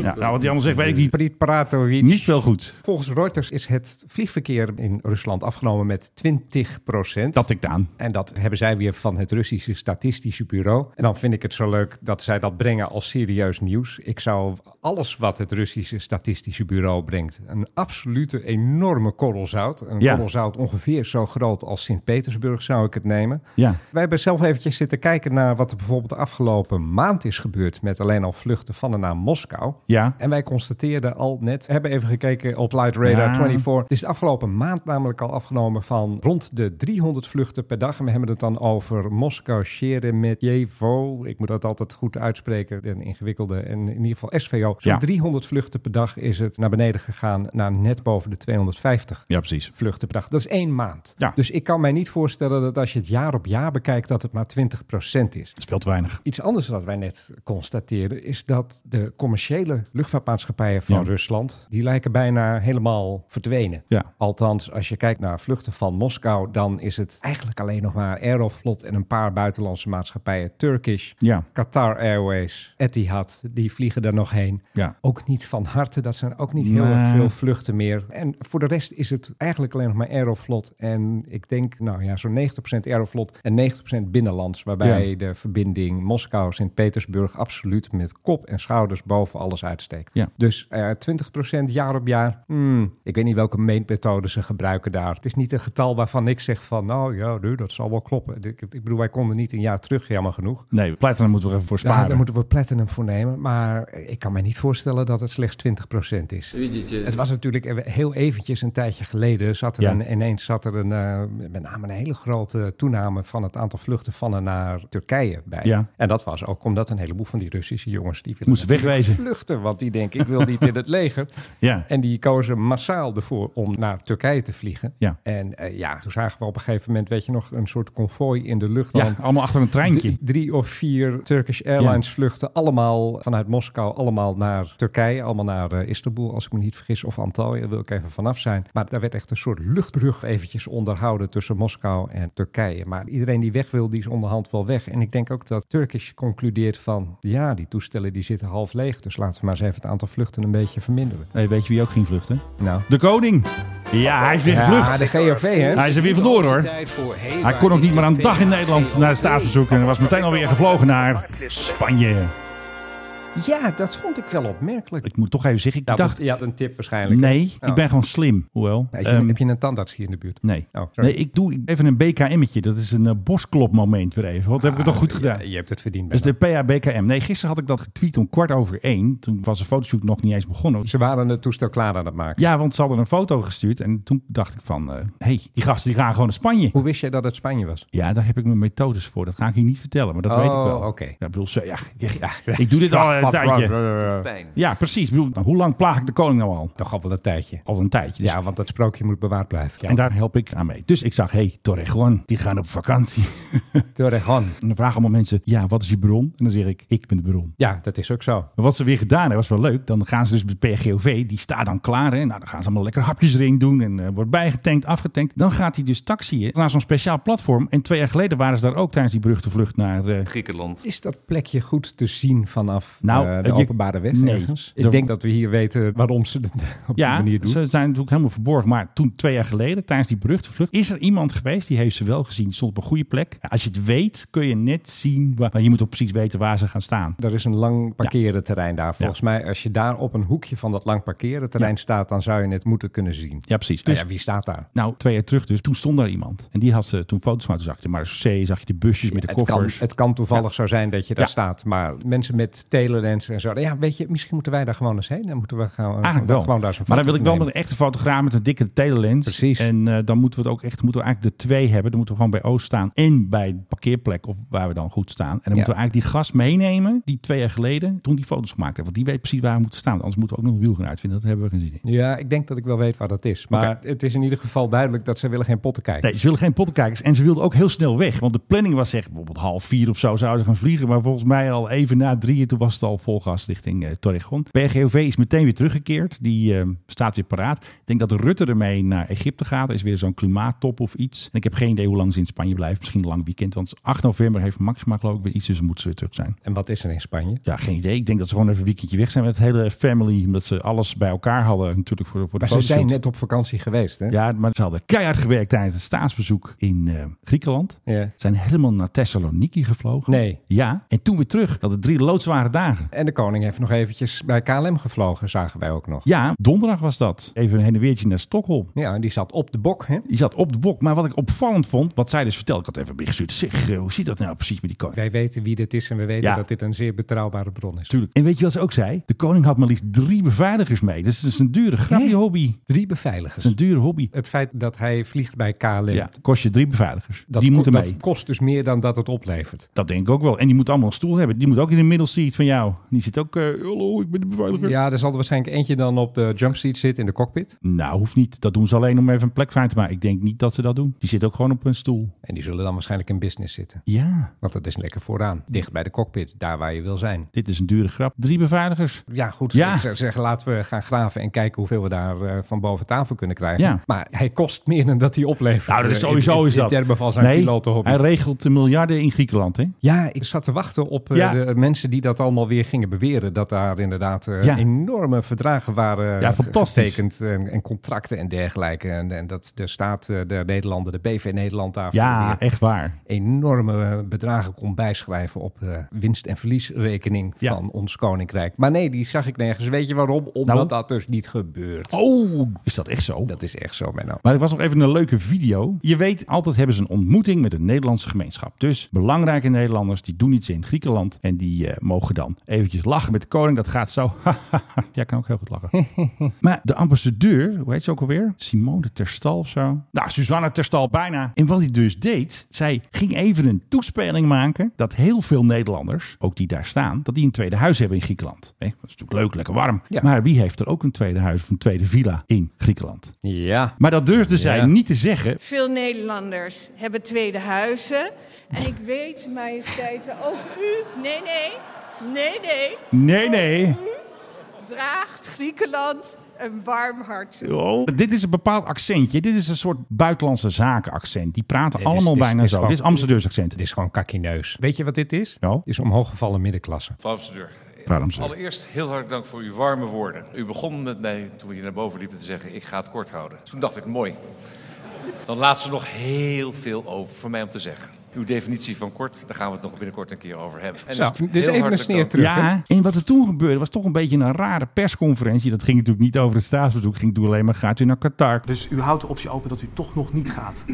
[SPEAKER 9] Ja, nou, wat Jan zegt, weet ik niet.
[SPEAKER 8] Priet Paratovic.
[SPEAKER 9] Niet wel goed.
[SPEAKER 8] Volgens Reuters is het vliegverkeer in Rusland afgenomen met 20 procent.
[SPEAKER 9] Dat ik aan.
[SPEAKER 8] En dat hebben zij weer van het Russische Statistische Bureau. En dan vind ik het zo leuk dat zij dat brengen als serieus nieuws. Ik zou alles wat het Russische Statistische Bureau brengt, een absolute enorme korrel zout. Een
[SPEAKER 9] Ja.
[SPEAKER 8] korrel zout ongeveer zo groot als Sint-Petersburg zou ik het nemen.
[SPEAKER 9] Ja.
[SPEAKER 8] Wij hebben zelf eventjes zitten kijken naar wat er bijvoorbeeld de afgelopen maand is gebeurd met alleen al vluchten van en naar Moskou.
[SPEAKER 9] Ja.
[SPEAKER 8] En wij constateerden al net, we hebben even gekeken op Light Radar
[SPEAKER 9] Ja.
[SPEAKER 8] 24. Het is de afgelopen maand namelijk al afgenomen van rond de 300 vluchten per dag. En we hebben het dan over Moskou Sheremetyevo. Ik moet dat altijd goed uitspreken, een ingewikkelde. En in ieder geval SVO. Zo'n
[SPEAKER 9] Ja.
[SPEAKER 8] 300 vluchten per dag is het naar beneden gegaan naar net boven de 250
[SPEAKER 9] Ja, precies.
[SPEAKER 8] vluchten per dag. Dat is één maand.
[SPEAKER 9] Ja.
[SPEAKER 8] Dus ik kan mij niet voorstellen dat als je het jaar op jaar bekijkt, dat het maar 20% is.
[SPEAKER 9] Dat is veel te weinig.
[SPEAKER 8] Iets anders wat wij net constateerden is dat de commerciële luchtvaartmaatschappijen van
[SPEAKER 9] Ja.
[SPEAKER 8] Rusland, die lijken bijna helemaal verdwenen.
[SPEAKER 9] Ja.
[SPEAKER 8] Althans, als je kijkt naar vluchten van Moskou, dan is het eigenlijk alleen nog maar Aeroflot en een paar buitenlandse maatschappijen. Turkish,
[SPEAKER 9] Ja.
[SPEAKER 8] Qatar Airways, Etihad, die vliegen daar nog heen.
[SPEAKER 9] Ja.
[SPEAKER 8] Ook niet van harte, dat zijn ook niet heel
[SPEAKER 9] Nee.
[SPEAKER 8] erg veel vluchten meer. En voor de rest is het eigenlijk alleen nog maar Aeroflot. En ik denk, nou ja, zo'n 90% Aeroflot en 90% binnenlands. Waarbij
[SPEAKER 9] Ja.
[SPEAKER 8] de verbinding Moskou-Sint-Petersburg absoluut met kop en schouders boven alles uitsteekt.
[SPEAKER 9] Ja.
[SPEAKER 8] Dus eh 20% jaar op jaar. Hmm, ik weet niet welke meetmethode ze gebruiken daar. Het is niet een getal waarvan ik zeg van, nou ja, nu, dat zal wel kloppen. Ik, ik bedoel, wij konden niet een jaar terug, jammer genoeg.
[SPEAKER 9] Nee, platinum moeten we er even voor
[SPEAKER 8] Ja,
[SPEAKER 9] sparen.
[SPEAKER 8] Nou, daar moeten we platinum voor nemen. Maar ik kan mij niet voorstellen dat het slechts 20% is. Het was natuurlijk heel eventjes een tijdje geleden. Zat er
[SPEAKER 9] Ja.
[SPEAKER 8] een, ineens zat er een, eh, met name een hele grote toename van het aantal vluchten van en naar Turkije bij.
[SPEAKER 9] Ja.
[SPEAKER 8] En dat was ook omdat een heleboel van die Russische jongens die willen
[SPEAKER 9] Moesten
[SPEAKER 8] natuurlijk
[SPEAKER 9] wegwezen.
[SPEAKER 8] vluchten. Want die denken, ik wil niet in het leger.
[SPEAKER 9] Ja.
[SPEAKER 8] En die kozen massaal ervoor om naar Turkije te vliegen.
[SPEAKER 9] Ja.
[SPEAKER 8] En eh, ja, toen zagen we op een gegeven moment, weet je nog, een soort konvooi in de lucht.
[SPEAKER 9] Ja,
[SPEAKER 8] dan
[SPEAKER 9] allemaal achter een treintje.
[SPEAKER 8] Drie, drie of vier Turkish Airlines vluchten allemaal vanuit Moskou, allemaal naar Turkije, allemaal naar eh, Istanbul, als ik me niet vergis, of Antalya, daar wil ik even vanaf zijn. Maar daar werd echt een soort luchtbrug eventjes onderhouden tussen Moskou en Turkije. Maar iedereen die weg wil, die is onderhand wel weg. En ik denk ook dat Turkish concludeert van, ja, die toestellen die zitten half leeg, dus laten we maar eens even het aantal vluchten een beetje verminderen.
[SPEAKER 9] Hey, weet je wie ook ging vluchten?
[SPEAKER 8] Nou,
[SPEAKER 9] De koning. Ja, hij is weer
[SPEAKER 8] ja,
[SPEAKER 9] gevlucht.
[SPEAKER 8] de GOV, hè?
[SPEAKER 9] Hij is er weer vandoor hoor. Hij kon ook niet meer aan de dag in Nederland naar het staatsbezoek. En was meteen alweer gevlogen naar Spanje.
[SPEAKER 8] Ja, dat vond ik wel opmerkelijk.
[SPEAKER 9] Ik moet toch even zeggen, ik
[SPEAKER 8] Je had,
[SPEAKER 9] dacht...
[SPEAKER 8] je had een tip waarschijnlijk.
[SPEAKER 9] Nee,
[SPEAKER 8] Oh.
[SPEAKER 9] ik ben gewoon slim. Hoewel.
[SPEAKER 8] Heb je,
[SPEAKER 9] ehm,
[SPEAKER 8] heb je een tandarts hier in de buurt?
[SPEAKER 9] Nee.
[SPEAKER 8] Oh, sorry.
[SPEAKER 9] nee, ik doe even een BKM'tje. Dat is een eh, borstklopmoment weer even. Wat heb ik het toch goed gedaan?
[SPEAKER 8] Ah, Ja, je hebt het verdiend.
[SPEAKER 9] Dus
[SPEAKER 8] Benno.
[SPEAKER 9] de PHBKM. Nee, gisteren had ik dat getweet om kwart over één. Toen was de fotoshoot nog niet eens begonnen.
[SPEAKER 8] Ze waren het toestel klaar aan het maken.
[SPEAKER 9] Ja, want ze hadden een foto gestuurd. En toen dacht ik van, hé, hey, die gasten die gaan gewoon naar Spanje.
[SPEAKER 8] Hoe wist jij dat het Spanje was?
[SPEAKER 9] Ja, daar heb ik mijn methodes voor. Dat ga ik je niet vertellen, maar dat
[SPEAKER 8] Oh,
[SPEAKER 9] weet ik wel.
[SPEAKER 8] oké.
[SPEAKER 9] Ja, ik bedoel, zo- ja, ja, ik doe dit al een tijdje. Ja, precies. Ik bedoel, nou, hoe lang plaag ik de koning nou al?
[SPEAKER 8] Toch al wel een tijdje.
[SPEAKER 9] Al een tijdje. dus-
[SPEAKER 8] Ja, want dat sprookje moet bewaard blijven. Ja,
[SPEAKER 9] En daar help ik aan mee. Dus ik zag, hé, hey, Torrejon, die gaan op vakantie.
[SPEAKER 8] Torrejon.
[SPEAKER 9] en dan vragen allemaal mensen, ja, wat is je bron? En dan zeg ik, ik ben de bron.
[SPEAKER 8] Ja, dat is ook zo.
[SPEAKER 9] Maar wat ze weer gedaan hebben, was wel leuk. Dan gaan ze dus bij PGOV, die staat dan klaar. Hè? Nou, dan gaan ze allemaal lekker hapjesring doen en eh, wordt bijgetankt, afgetankt. Dan gaat hij dus taxiën naar zo'n speciaal platform. En twee jaar geleden waren ze daar ook tijdens die beruchte vlucht naar... eh,
[SPEAKER 3] Griekenland.
[SPEAKER 8] Is dat plekje goed te zien vanaf
[SPEAKER 9] Nou,
[SPEAKER 8] eh, de
[SPEAKER 9] eh, je-
[SPEAKER 8] openbare weg
[SPEAKER 9] nee.
[SPEAKER 8] ergens? Ik
[SPEAKER 9] De-
[SPEAKER 8] denk dat we hier weten waarom ze het op die
[SPEAKER 9] ja,
[SPEAKER 8] manier doen.
[SPEAKER 9] ze zijn natuurlijk helemaal verborgen. Maar toen, twee jaar geleden, tijdens die beruchte vlucht, is er iemand geweest die heeft ze wel gezien. Stond op een goede plek. Ja, Als je het weet, kun je net zien. Waar, maar je moet ook precies weten waar ze gaan staan.
[SPEAKER 8] Er is een lang parkerenterrein daar. Volgens mij, als je daar op een hoekje van dat lang parkerenterrein staat, dan zou je het moeten kunnen zien.
[SPEAKER 9] Ja, precies.
[SPEAKER 8] Nou
[SPEAKER 9] Dus-
[SPEAKER 8] ja, wie staat daar?
[SPEAKER 9] Nou, twee jaar terug dus. Toen stond daar iemand. En die had ze toen foto's gemaakt. Toen zag je de Marseille, zag je de busjes met de
[SPEAKER 8] Het kan,
[SPEAKER 9] koffers.
[SPEAKER 8] het kan toevallig zo zijn dat je daar
[SPEAKER 9] Ja.
[SPEAKER 8] staat. Maar mensen met telelens en zo. nou Ja, weet je, misschien moeten wij daar gewoon eens heen. Dan moeten we gaan,
[SPEAKER 9] Eigenlijk wel.
[SPEAKER 8] gewoon daar zo'n
[SPEAKER 9] maar dan
[SPEAKER 8] foto
[SPEAKER 9] wil ik wel
[SPEAKER 8] van
[SPEAKER 9] met een echte fotograaf met een dikke telelens.
[SPEAKER 8] Precies.
[SPEAKER 9] En eh, dan moeten we het ook echt, moeten we eigenlijk de twee hebben. Dan moeten we gewoon bij Oost staan en bij de parkeerplek of waar we dan goed staan. En dan moeten we eigenlijk die gast meenemen die twee jaar geleden toen die foto's gemaakt heeft. Want die weet precies waar we moeten staan. Want anders moeten we ook nog een wiel gaan uitvinden. Dat hebben we geen zin in.
[SPEAKER 8] nemen. Ja, ik denk dat ik wel weet waar dat is. Maar het is in ieder geval duidelijk dat ze willen geen potten kijken.
[SPEAKER 9] Nee, ze willen geen pottenkijkers en ze wilden ook heel snel weg. Want de planning was echt bijvoorbeeld half vier of zo zouden ze gaan vliegen. Maar volgens mij al even na drieën toen was het al al vol gas richting eh, Torrejon. PRGOV is meteen weer teruggekeerd. Die eh, staat weer paraat. Ik denk dat Rutte ermee naar Egypte gaat. Er is weer zo'n klimaattop of iets. En ik heb geen idee hoe lang ze in Spanje blijven. Misschien een lang weekend. Want 8 november heeft Maxima geloof ik weer iets. Dus dan moeten ze weer terug zijn.
[SPEAKER 8] En wat is er in Spanje?
[SPEAKER 9] Ja, geen idee. Ik denk dat ze gewoon even een weekendje weg zijn met het hele family. Omdat ze alles bij elkaar hadden natuurlijk voor, voor de
[SPEAKER 8] Maar ze zijn
[SPEAKER 9] fotoshoot.
[SPEAKER 8] net op vakantie geweest, hè?
[SPEAKER 9] Ja, maar ze hadden keihard gewerkt tijdens het staatsbezoek in eh, Griekenland.
[SPEAKER 8] Ja.
[SPEAKER 9] Zijn helemaal naar Thessaloniki gevlogen.
[SPEAKER 8] Nee.
[SPEAKER 9] Ja, en toen weer terug. Dat het drie loodzware dagen.
[SPEAKER 8] En de koning heeft nog eventjes bij KLM gevlogen, zagen wij ook nog.
[SPEAKER 9] Ja, donderdag was dat. Even een heen en weertje naar Stockholm.
[SPEAKER 8] Ja, die zat op de bok, hè?
[SPEAKER 9] Die zat op de bok. Maar wat ik opvallend vond, wat zij dus vertelde. Ik had even een bericht gestuurd. Zeg, eh, hoe zit dat nou precies met die koning?
[SPEAKER 8] Wij weten wie dit is en we weten
[SPEAKER 9] Ja.
[SPEAKER 8] dat dit een zeer betrouwbare bron is.
[SPEAKER 9] Natuurlijk. En weet je wat ze ook zei? De koning had maar liefst drie beveiligers mee. Dus het is een dure grap, die hobby. Het
[SPEAKER 8] Drie
[SPEAKER 9] is
[SPEAKER 8] beveiligers.
[SPEAKER 9] een dure hobby.
[SPEAKER 8] Het feit dat hij vliegt bij KLM,
[SPEAKER 9] Hm. Ja, kost je drie beveiligers.
[SPEAKER 8] dat,
[SPEAKER 9] die
[SPEAKER 8] ko-
[SPEAKER 9] moeten
[SPEAKER 8] dat
[SPEAKER 9] mee.
[SPEAKER 8] kost dus meer dan dat het oplevert.
[SPEAKER 9] Dat denk ik ook wel. En die moet allemaal een stoel hebben. Die moet ook in de middelseat van jou. Die zit ook, eh, hallo, ik ben de beveiliger.
[SPEAKER 8] Ja, er zal er waarschijnlijk eentje dan op de jumpseat zitten in de cockpit.
[SPEAKER 9] Nou, hoeft niet. Dat doen ze alleen om even een plek vrij te maken. Ik denk niet dat ze dat doen. Die zit ook gewoon op een stoel.
[SPEAKER 8] En die zullen dan waarschijnlijk in business zitten.
[SPEAKER 9] Ja.
[SPEAKER 8] Want dat is lekker vooraan.
[SPEAKER 9] Hm.
[SPEAKER 8] Dicht bij de cockpit, daar waar je wil zijn.
[SPEAKER 9] Dit is een dure grap. Drie beveiligers.
[SPEAKER 8] Ja, goed.
[SPEAKER 9] Ja.
[SPEAKER 8] Ik zou zeggen, laten we gaan graven en kijken hoeveel we daar eh, van boven tafel kunnen krijgen.
[SPEAKER 9] Ja.
[SPEAKER 8] Maar hij kost meer dan dat hij oplevert.
[SPEAKER 9] Nou, dat is
[SPEAKER 8] eh, in-
[SPEAKER 9] sowieso
[SPEAKER 8] in,
[SPEAKER 9] is dat.
[SPEAKER 8] In termen van zijn
[SPEAKER 9] Nee,
[SPEAKER 8] pilotenhobby.
[SPEAKER 9] Hij regelt de miljarden in Griekenland, hè?
[SPEAKER 8] Ja, ik zat te wachten op eh,
[SPEAKER 9] Ja.
[SPEAKER 8] de mensen die dat allemaal weer gingen beweren. Dat daar inderdaad eh,
[SPEAKER 9] Ja.
[SPEAKER 8] enorme verdragen waren
[SPEAKER 9] Ja,
[SPEAKER 8] ja,
[SPEAKER 9] fantastisch.
[SPEAKER 8] getekend. En, en contracten en dergelijke. En, en dat de staat, eh, de Nederlanden, de BV Nederland daarvoor
[SPEAKER 9] Ja,
[SPEAKER 8] weer
[SPEAKER 9] echt waar.
[SPEAKER 8] enorme eh, bedragen kon bijschrijven op eh, winst- en verliesrekening
[SPEAKER 9] Ja.
[SPEAKER 8] van ons koninkrijk. Maar nee, die zag ik nergens. Weet je waarom? Omdat
[SPEAKER 9] Nou?
[SPEAKER 8] dat dus niet gebeurt.
[SPEAKER 9] Oh, is dat echt zo?
[SPEAKER 8] Dat is echt zo, Menno.
[SPEAKER 9] Maar er was nog even een leuke video. Je weet, altijd hebben ze een ontmoeting met de Nederlandse gemeenschap. Dus belangrijke Nederlanders, die doen iets in Griekenland. En die eh, mogen dan eventjes lachen met de koning. Dat gaat zo. Jij kan ook heel goed lachen. maar de ambassadeur, hoe heet ze ook alweer? Simone Terstal of zo? Nou, Suzanne Terstal, bijna. En wat hij dus deed, zij ging even een toespeling maken. Dat heel veel Nederlanders, ook die daar staan, dat die een tweede huis hebben in Griekenland. Hè, dat is natuurlijk leuk, lekker warm.
[SPEAKER 8] Ja.
[SPEAKER 9] Maar wie heeft er ook een tweede huis of een tweede villa in Griekenland?
[SPEAKER 8] Ja.
[SPEAKER 9] Maar dat durfde zij niet te zeggen.
[SPEAKER 11] Veel Nederlanders hebben tweede huizen. En ik weet, majesteiten, ook u, nee, nee, nee, nee,
[SPEAKER 9] Nee, nee.
[SPEAKER 11] draagt Griekenland een warm hart toe.
[SPEAKER 9] Dit is een bepaald accentje. Dit is een soort buitenlandse zaken accent. Die praten
[SPEAKER 8] dit is-
[SPEAKER 9] allemaal
[SPEAKER 8] dit is-
[SPEAKER 9] bijna
[SPEAKER 8] dit is
[SPEAKER 9] zo.
[SPEAKER 8] gewoon-
[SPEAKER 9] dit is Amsterdams accent.
[SPEAKER 8] Het is gewoon kakkineus. Weet je wat dit is?
[SPEAKER 9] Ja.
[SPEAKER 8] Dit is omhooggevallen middenklasse.
[SPEAKER 3] Mevrouw ambassadeur,
[SPEAKER 9] Waarom zo?
[SPEAKER 3] allereerst heel hartelijk dank voor uw warme woorden. U begon met mij toen we hier naar boven liepen te zeggen, ik ga het kort houden. Toen dacht ik, mooi. Dan laat ze nog heel veel over voor mij om te zeggen. Uw definitie van kort, daar gaan we het nog binnenkort een keer over hebben. En
[SPEAKER 8] Zo,
[SPEAKER 3] dus heel
[SPEAKER 8] dit is even een
[SPEAKER 3] hartelijk
[SPEAKER 8] sneer
[SPEAKER 3] dank.
[SPEAKER 8] terug. hè?
[SPEAKER 9] Ja, en wat er toen gebeurde was toch een beetje een rare persconferentie. Dat ging natuurlijk niet over het staatsbezoek. Ging toen alleen maar gaat u naar Qatar.
[SPEAKER 12] Dus u houdt de optie open dat u toch nog niet gaat.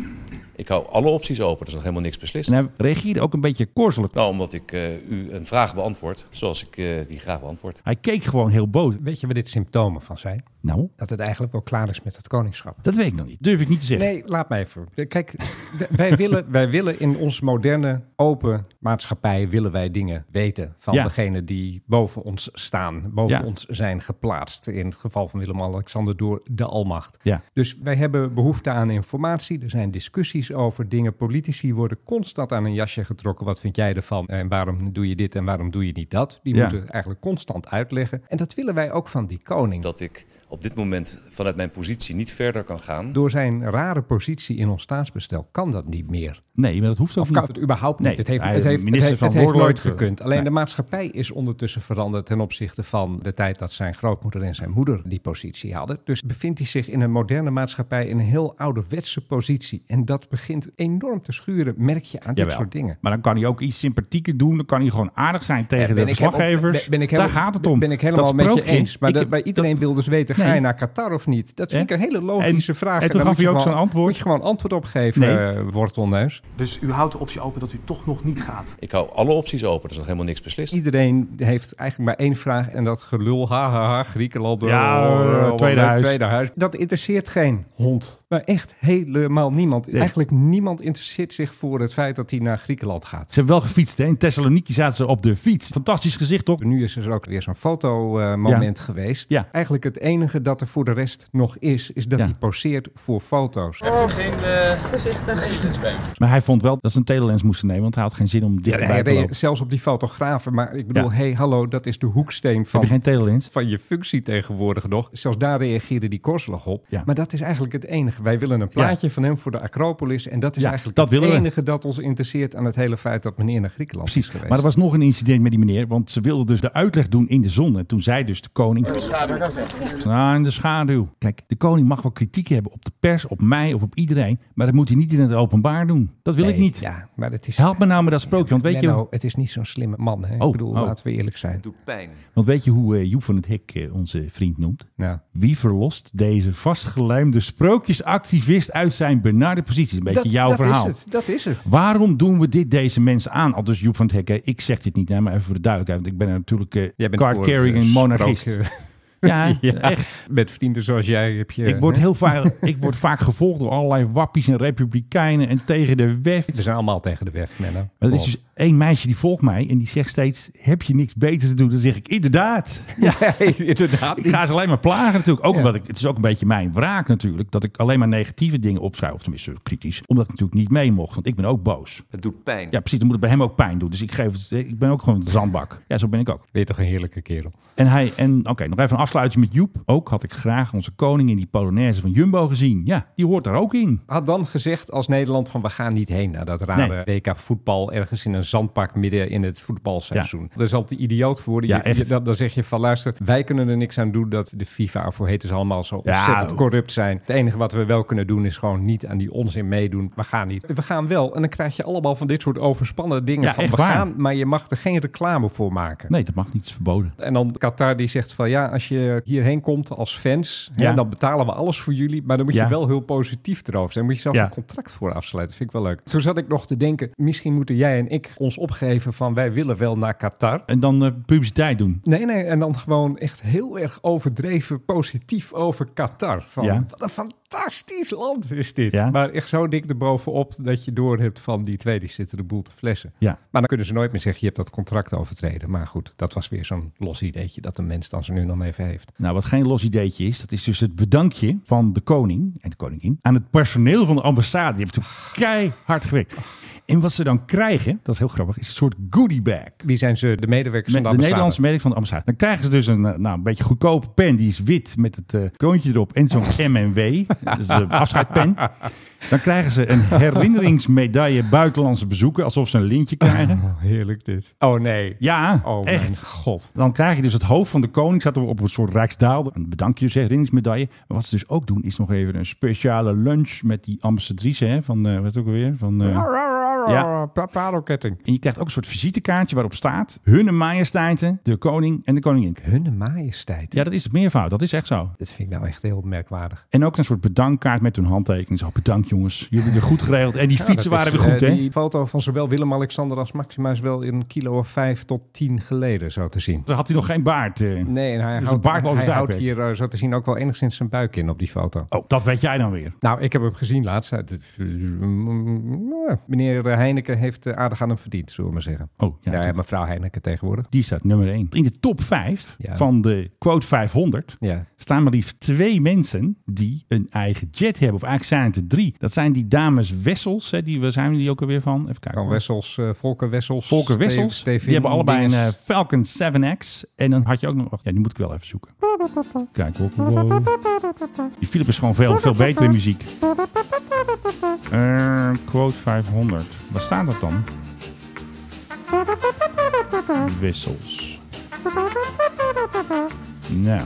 [SPEAKER 3] Ik hou alle opties open, er is nog helemaal niks beslist.
[SPEAKER 9] En hij reageerde ook een beetje korzelig.
[SPEAKER 3] Nou, omdat ik eh, u een vraag beantwoord zoals ik eh, die graag beantwoord.
[SPEAKER 9] Hij keek gewoon heel boos.
[SPEAKER 8] Weet je wat dit symptomen van zijn?
[SPEAKER 9] Nou,
[SPEAKER 8] Dat het eigenlijk wel klaar is met het koningschap.
[SPEAKER 9] dat weet ik nog niet. Durf ik niet te zeggen.
[SPEAKER 8] Nee, laat mij even. Kijk, w- wij willen, wij willen in onze moderne, open maatschappij... willen wij dingen weten van
[SPEAKER 9] Ja.
[SPEAKER 8] degene die boven ons staan. Boven
[SPEAKER 9] Ja.
[SPEAKER 8] ons zijn geplaatst. In het geval van Willem-Alexander door de almacht.
[SPEAKER 9] Ja.
[SPEAKER 8] Dus wij hebben behoefte aan informatie. Er zijn discussies over dingen. Politici worden constant aan een jasje getrokken. Wat vind jij ervan? En waarom doe je dit en waarom doe je niet dat? Die
[SPEAKER 9] Ja.
[SPEAKER 8] moeten eigenlijk constant uitleggen. En dat willen wij ook van die koning.
[SPEAKER 3] Dat ik op dit moment vanuit mijn positie niet verder kan gaan.
[SPEAKER 8] Door zijn rare positie in ons staatsbestel kan dat niet meer.
[SPEAKER 9] Nee, maar dat hoeft ook
[SPEAKER 8] Of
[SPEAKER 9] niet.
[SPEAKER 8] kan het überhaupt niet?
[SPEAKER 9] Nee,
[SPEAKER 8] het heeft,
[SPEAKER 9] hij-
[SPEAKER 8] het heeft, het
[SPEAKER 9] minister
[SPEAKER 8] heeft,
[SPEAKER 9] van
[SPEAKER 8] het heeft nooit
[SPEAKER 9] Hoornloot, eh,
[SPEAKER 8] gekund. Alleen
[SPEAKER 9] nee.
[SPEAKER 8] de maatschappij is ondertussen veranderd ten opzichte van de tijd dat zijn grootmoeder en zijn moeder die positie hadden. Dus bevindt hij zich in een moderne maatschappij in een heel ouderwetse positie. En dat begint enorm te schuren, merk je aan dit
[SPEAKER 9] Jawel.
[SPEAKER 8] soort dingen.
[SPEAKER 9] Maar dan kan hij ook iets sympathieker doen. Dan kan hij gewoon aardig zijn tegen de verslaggevers.
[SPEAKER 8] ben, ben ik
[SPEAKER 9] Daar
[SPEAKER 8] helemaal-
[SPEAKER 9] gaat het om.
[SPEAKER 8] Ben ik helemaal
[SPEAKER 9] Dat
[SPEAKER 8] met je
[SPEAKER 9] sprookje.
[SPEAKER 8] eens. Maar
[SPEAKER 9] Ik
[SPEAKER 8] dat-
[SPEAKER 9] heb-
[SPEAKER 8] bij iedereen wil dus weten, ga
[SPEAKER 9] Nee.
[SPEAKER 8] je naar Qatar of niet? Dat vind
[SPEAKER 9] Hè?
[SPEAKER 8] ik een hele logische
[SPEAKER 9] En-
[SPEAKER 8] vraag.
[SPEAKER 9] en toen
[SPEAKER 8] Daar
[SPEAKER 9] gaf
[SPEAKER 8] moet
[SPEAKER 9] hij
[SPEAKER 8] je
[SPEAKER 9] ook
[SPEAKER 8] gewoon-
[SPEAKER 9] zo'n antwoord.
[SPEAKER 8] Moet je gewoon antwoord opgeven,
[SPEAKER 9] Nee.
[SPEAKER 8] eh, wortelneus.
[SPEAKER 12] Dus u houdt de optie open dat u toch nog niet gaat.
[SPEAKER 3] Ik hou alle opties open, er is nog helemaal niks beslist.
[SPEAKER 8] Iedereen heeft eigenlijk maar één vraag en dat gelul, ha ha ha, Griekenland, oh,
[SPEAKER 9] Ja,
[SPEAKER 8] oh, oh,
[SPEAKER 9] eh,
[SPEAKER 8] oh,
[SPEAKER 9] tweede
[SPEAKER 8] oh,
[SPEAKER 9] huis.
[SPEAKER 8] tweede huis. Dat interesseert geen hond. Maar echt helemaal niemand. Eigenlijk niemand interesseert zich voor het feit dat hij naar Griekenland gaat.
[SPEAKER 9] Ze hebben wel gefietst, hè? In Thessaloniki zaten ze op de fiets. Fantastisch gezicht, toch?
[SPEAKER 8] Nu is er ook weer zo'n fotomoment eh, moment geweest.
[SPEAKER 9] Ja.
[SPEAKER 8] Eigenlijk het enige enige dat er voor de rest nog is, is dat hij poseert voor foto's.
[SPEAKER 13] geen uh, voorzichtig bij.
[SPEAKER 9] Maar hij vond wel dat ze een telelens moesten nemen, want hij had geen zin om
[SPEAKER 8] Ja,
[SPEAKER 9] dit
[SPEAKER 8] hij
[SPEAKER 9] bij te
[SPEAKER 8] reed
[SPEAKER 9] lopen.
[SPEAKER 8] zelfs op die fotografen. Maar ik bedoel,
[SPEAKER 9] Ja.
[SPEAKER 8] hey, hallo, dat is de hoeksteen van,
[SPEAKER 9] je geen telelens?
[SPEAKER 8] van je functie tegenwoordig nog. Zelfs daar reageerde die Korslag op. Maar dat is eigenlijk het enige. Wij willen een plaatje van hem voor de Acropolis. En dat is
[SPEAKER 9] Ja,
[SPEAKER 8] eigenlijk
[SPEAKER 9] dat
[SPEAKER 8] het
[SPEAKER 9] willen we.
[SPEAKER 8] enige dat ons interesseert aan het hele feit dat meneer naar Griekenland is geweest.
[SPEAKER 9] Maar er was nog een incident met die meneer, want ze wilde dus de uitleg doen in de zon. En toen zei dus de koning... Nou, in de schaduw. Kijk, de koning mag wel kritiek hebben op de pers, op mij of op iedereen. Maar dat moet hij niet in het openbaar doen. Dat wil ik
[SPEAKER 8] Nee,
[SPEAKER 9] niet.
[SPEAKER 8] ja, maar dat is-
[SPEAKER 9] Help me nou met dat sprookje, want weet je...
[SPEAKER 8] Menno, het is niet zo'n slimme man. Hè?
[SPEAKER 9] Oh,
[SPEAKER 8] ik bedoel,
[SPEAKER 9] oh.
[SPEAKER 8] laten we eerlijk zijn.
[SPEAKER 3] Doet pijn.
[SPEAKER 9] Want weet je hoe eh, Joep van het Hek eh, onze vriend noemt?
[SPEAKER 8] Nou.
[SPEAKER 9] Wie verlost deze vastgelijmde sprookjesactivist uit zijn benarde positie? Een beetje
[SPEAKER 8] Dat-
[SPEAKER 9] jouw
[SPEAKER 8] dat is
[SPEAKER 9] verhaal.
[SPEAKER 8] het, dat is het.
[SPEAKER 9] Waarom doen we dit deze mensen aan? Al dus Joep van het Hek, hè, ik zeg dit niet, hè, maar even voor de duidelijkheid. Want ik ben er natuurlijk eh
[SPEAKER 8] bent voor,
[SPEAKER 9] card-carrying
[SPEAKER 8] eh,
[SPEAKER 9] monarchist.
[SPEAKER 8] sprookje.
[SPEAKER 9] Ja,
[SPEAKER 8] Ja,
[SPEAKER 9] echt.
[SPEAKER 8] Met vrienden dus zoals jij heb je...
[SPEAKER 9] Ik word,
[SPEAKER 8] hè?
[SPEAKER 9] heel vaak, ik word vaak gevolgd door allerlei wappies en republikeinen en tegen de WEF.
[SPEAKER 8] We zijn allemaal tegen de WEF, Menno.
[SPEAKER 9] Maar er is dus één meisje die volgt mij en die zegt steeds: Heb je niks beters te doen? Dan zeg ik: Inderdaad. Ja,
[SPEAKER 8] inderdaad.
[SPEAKER 9] Nou, Ik ga ze alleen maar plagen, natuurlijk. Ook omdat ik, het is ook een beetje mijn wraak, natuurlijk. Dat ik alleen maar negatieve dingen opschrijf, of tenminste kritisch. Omdat ik natuurlijk niet mee mocht, want ik ben ook boos.
[SPEAKER 3] Het doet pijn.
[SPEAKER 9] Ja, precies. Dan moet het bij hem ook pijn doen. Dus ik, geef het, ik ben ook gewoon een zandbak. Ja, zo ben ik ook.
[SPEAKER 8] Ben je toch een heerlijke kerel.
[SPEAKER 9] En hij, en oké, nog even een afsluitje met Joep. Ook had ik graag onze koning in die Polonaise van Jumbo gezien. Ja, die hoort daar ook in.
[SPEAKER 8] Had dan gezegd als Nederland van we gaan niet heen naar dat rare WK voetbal ergens in een zandpak midden in het voetbalseizoen. Daar zal te idioot voor worden.
[SPEAKER 9] Ja,
[SPEAKER 8] Je-
[SPEAKER 9] echt.
[SPEAKER 8] je- dan, dan zeg je van luister, wij kunnen er niks aan doen dat de FIFA of hoe heet het allemaal zo
[SPEAKER 9] Ja,
[SPEAKER 8] ontzettend
[SPEAKER 9] oh.
[SPEAKER 8] corrupt zijn. Het enige wat we wel kunnen doen is gewoon niet aan die onzin meedoen. We gaan niet. We gaan wel en dan krijg je allemaal van dit soort overspannen dingen
[SPEAKER 9] Ja,
[SPEAKER 8] van
[SPEAKER 9] echt
[SPEAKER 8] we
[SPEAKER 9] waar.
[SPEAKER 8] gaan, maar je mag er geen reclame voor maken.
[SPEAKER 9] Nee, dat mag niet. Het is verboden.
[SPEAKER 8] En dan Qatar die zegt van ja, als je hierheen komt als fans, hè,
[SPEAKER 9] Ja.
[SPEAKER 8] dan betalen we alles voor jullie. Maar dan moet
[SPEAKER 9] Ja.
[SPEAKER 8] je wel heel positief erover zijn. Moet je zelf
[SPEAKER 9] Ja.
[SPEAKER 8] een contract voor afsluiten. Vind ik wel leuk. Toen zat ik nog te denken, misschien moeten jij en ik ons opgeven van wij willen wel naar Qatar.
[SPEAKER 9] En dan eh, publiciteit doen.
[SPEAKER 8] Nee, nee, en dan gewoon echt heel erg overdreven positief over Qatar. Van,
[SPEAKER 9] Ja.
[SPEAKER 8] Wat een fantastisch land is dit.
[SPEAKER 9] Ja.
[SPEAKER 8] Maar echt zo dik erbovenop dat je door hebt van die twee die zitten de boel te flessen.
[SPEAKER 9] Ja.
[SPEAKER 8] Maar dan kunnen ze nooit meer zeggen, je hebt dat contract overtreden. Maar goed, dat was weer zo'n los ideetje dat een mens dan zo nu nog even heeft.
[SPEAKER 9] Nou, wat geen los ideetje is, dat is dus het bedankje van de koning en de koningin aan het personeel van de ambassade. Die hebben toen keihard gewerkt. En wat ze dan krijgen, dat is heel grappig, is een soort goodie bag.
[SPEAKER 8] Wie zijn ze? De medewerkers
[SPEAKER 9] Met
[SPEAKER 8] van de
[SPEAKER 9] de
[SPEAKER 8] ambassade?
[SPEAKER 9] Nederlandse medewerker van de ambassade. Dan krijgen ze dus een, eh, nou, een beetje goedkope pen. Die is wit met het eh, kroontje erop en zo'n MNW. Dat is een afscheidpen. Dan krijgen ze een herinneringsmedaille buitenlandse bezoeken. Alsof ze een lintje krijgen.
[SPEAKER 8] heerlijk dit. Oh nee.
[SPEAKER 9] Ja,
[SPEAKER 8] Oh mijn
[SPEAKER 9] echt.
[SPEAKER 8] god.
[SPEAKER 9] Dan krijg je dus het hoofd van de koning. Zat op een soort rijksdaalder. Een bedankje, dus herinneringsmedaille. Maar wat ze dus ook doen, is nog even een speciale lunch met die ambassadrice. Hè, van, eh, wat ook alweer? Van, eh, ja.
[SPEAKER 8] Pa- Parelketting.
[SPEAKER 9] En je krijgt ook een soort visitekaartje waarop staat... Hunne majesteiten, de koning en de koningin.
[SPEAKER 8] Hunne majesteit.
[SPEAKER 9] Ja, dat is het meervoud. Dat is echt zo.
[SPEAKER 8] Dat vind ik nou echt heel merkwaardig.
[SPEAKER 9] En ook een soort bedankkaart met hun handtekening. Zo, bedankt jongens. Jullie hebben het goed geregeld. En die
[SPEAKER 8] Ja,
[SPEAKER 9] fietsen
[SPEAKER 8] dat
[SPEAKER 9] waren
[SPEAKER 8] is,
[SPEAKER 9] weer goed,
[SPEAKER 8] eh,
[SPEAKER 9] hè?
[SPEAKER 8] Die foto van zowel Willem-Alexander als Maxima is wel in een kilo of vijf tot tien geleden zo te zien.
[SPEAKER 9] Daar had hij nog geen baard. eh.
[SPEAKER 8] Nee, en hij
[SPEAKER 9] Dus een
[SPEAKER 8] houdt,
[SPEAKER 9] baardloze
[SPEAKER 8] hij houdt
[SPEAKER 9] duikbek.
[SPEAKER 8] hier eh, zo te zien ook wel enigszins zijn buik in op die foto.
[SPEAKER 9] Oh, dat weet jij dan weer.
[SPEAKER 8] Nou, ik heb hem gezien laatst. Het- het- ja, Meneer Heineken heeft eh, aardig aan hem verdiend, zullen we maar zeggen.
[SPEAKER 9] Oh, ja.
[SPEAKER 8] Ja, mevrouw Heineken tegenwoordig.
[SPEAKER 9] Die staat nummer 1. In de top 5
[SPEAKER 8] Ja.
[SPEAKER 9] van de quote 500
[SPEAKER 8] Ja.
[SPEAKER 9] staan maar liefst twee mensen die een eigen jet hebben. Of eigenlijk zijn het er drie. Dat zijn die dames Wessels. Hè, die, waar zijn we die ook alweer van? Even kijken.
[SPEAKER 8] Van Wessels, eh Volker Wessels.
[SPEAKER 9] Volker Wessels.
[SPEAKER 8] Steve- Steve
[SPEAKER 9] die hebben allebei een
[SPEAKER 8] Dinges.
[SPEAKER 9] eh, Falcon 7X. En dan had je ook nog... Ja, die moet ik wel even zoeken. Kijk op. Wow. Die Philip is gewoon veel, veel beter in muziek. Eh, quote 500. Waar staat dat dan? Wissels. Nou.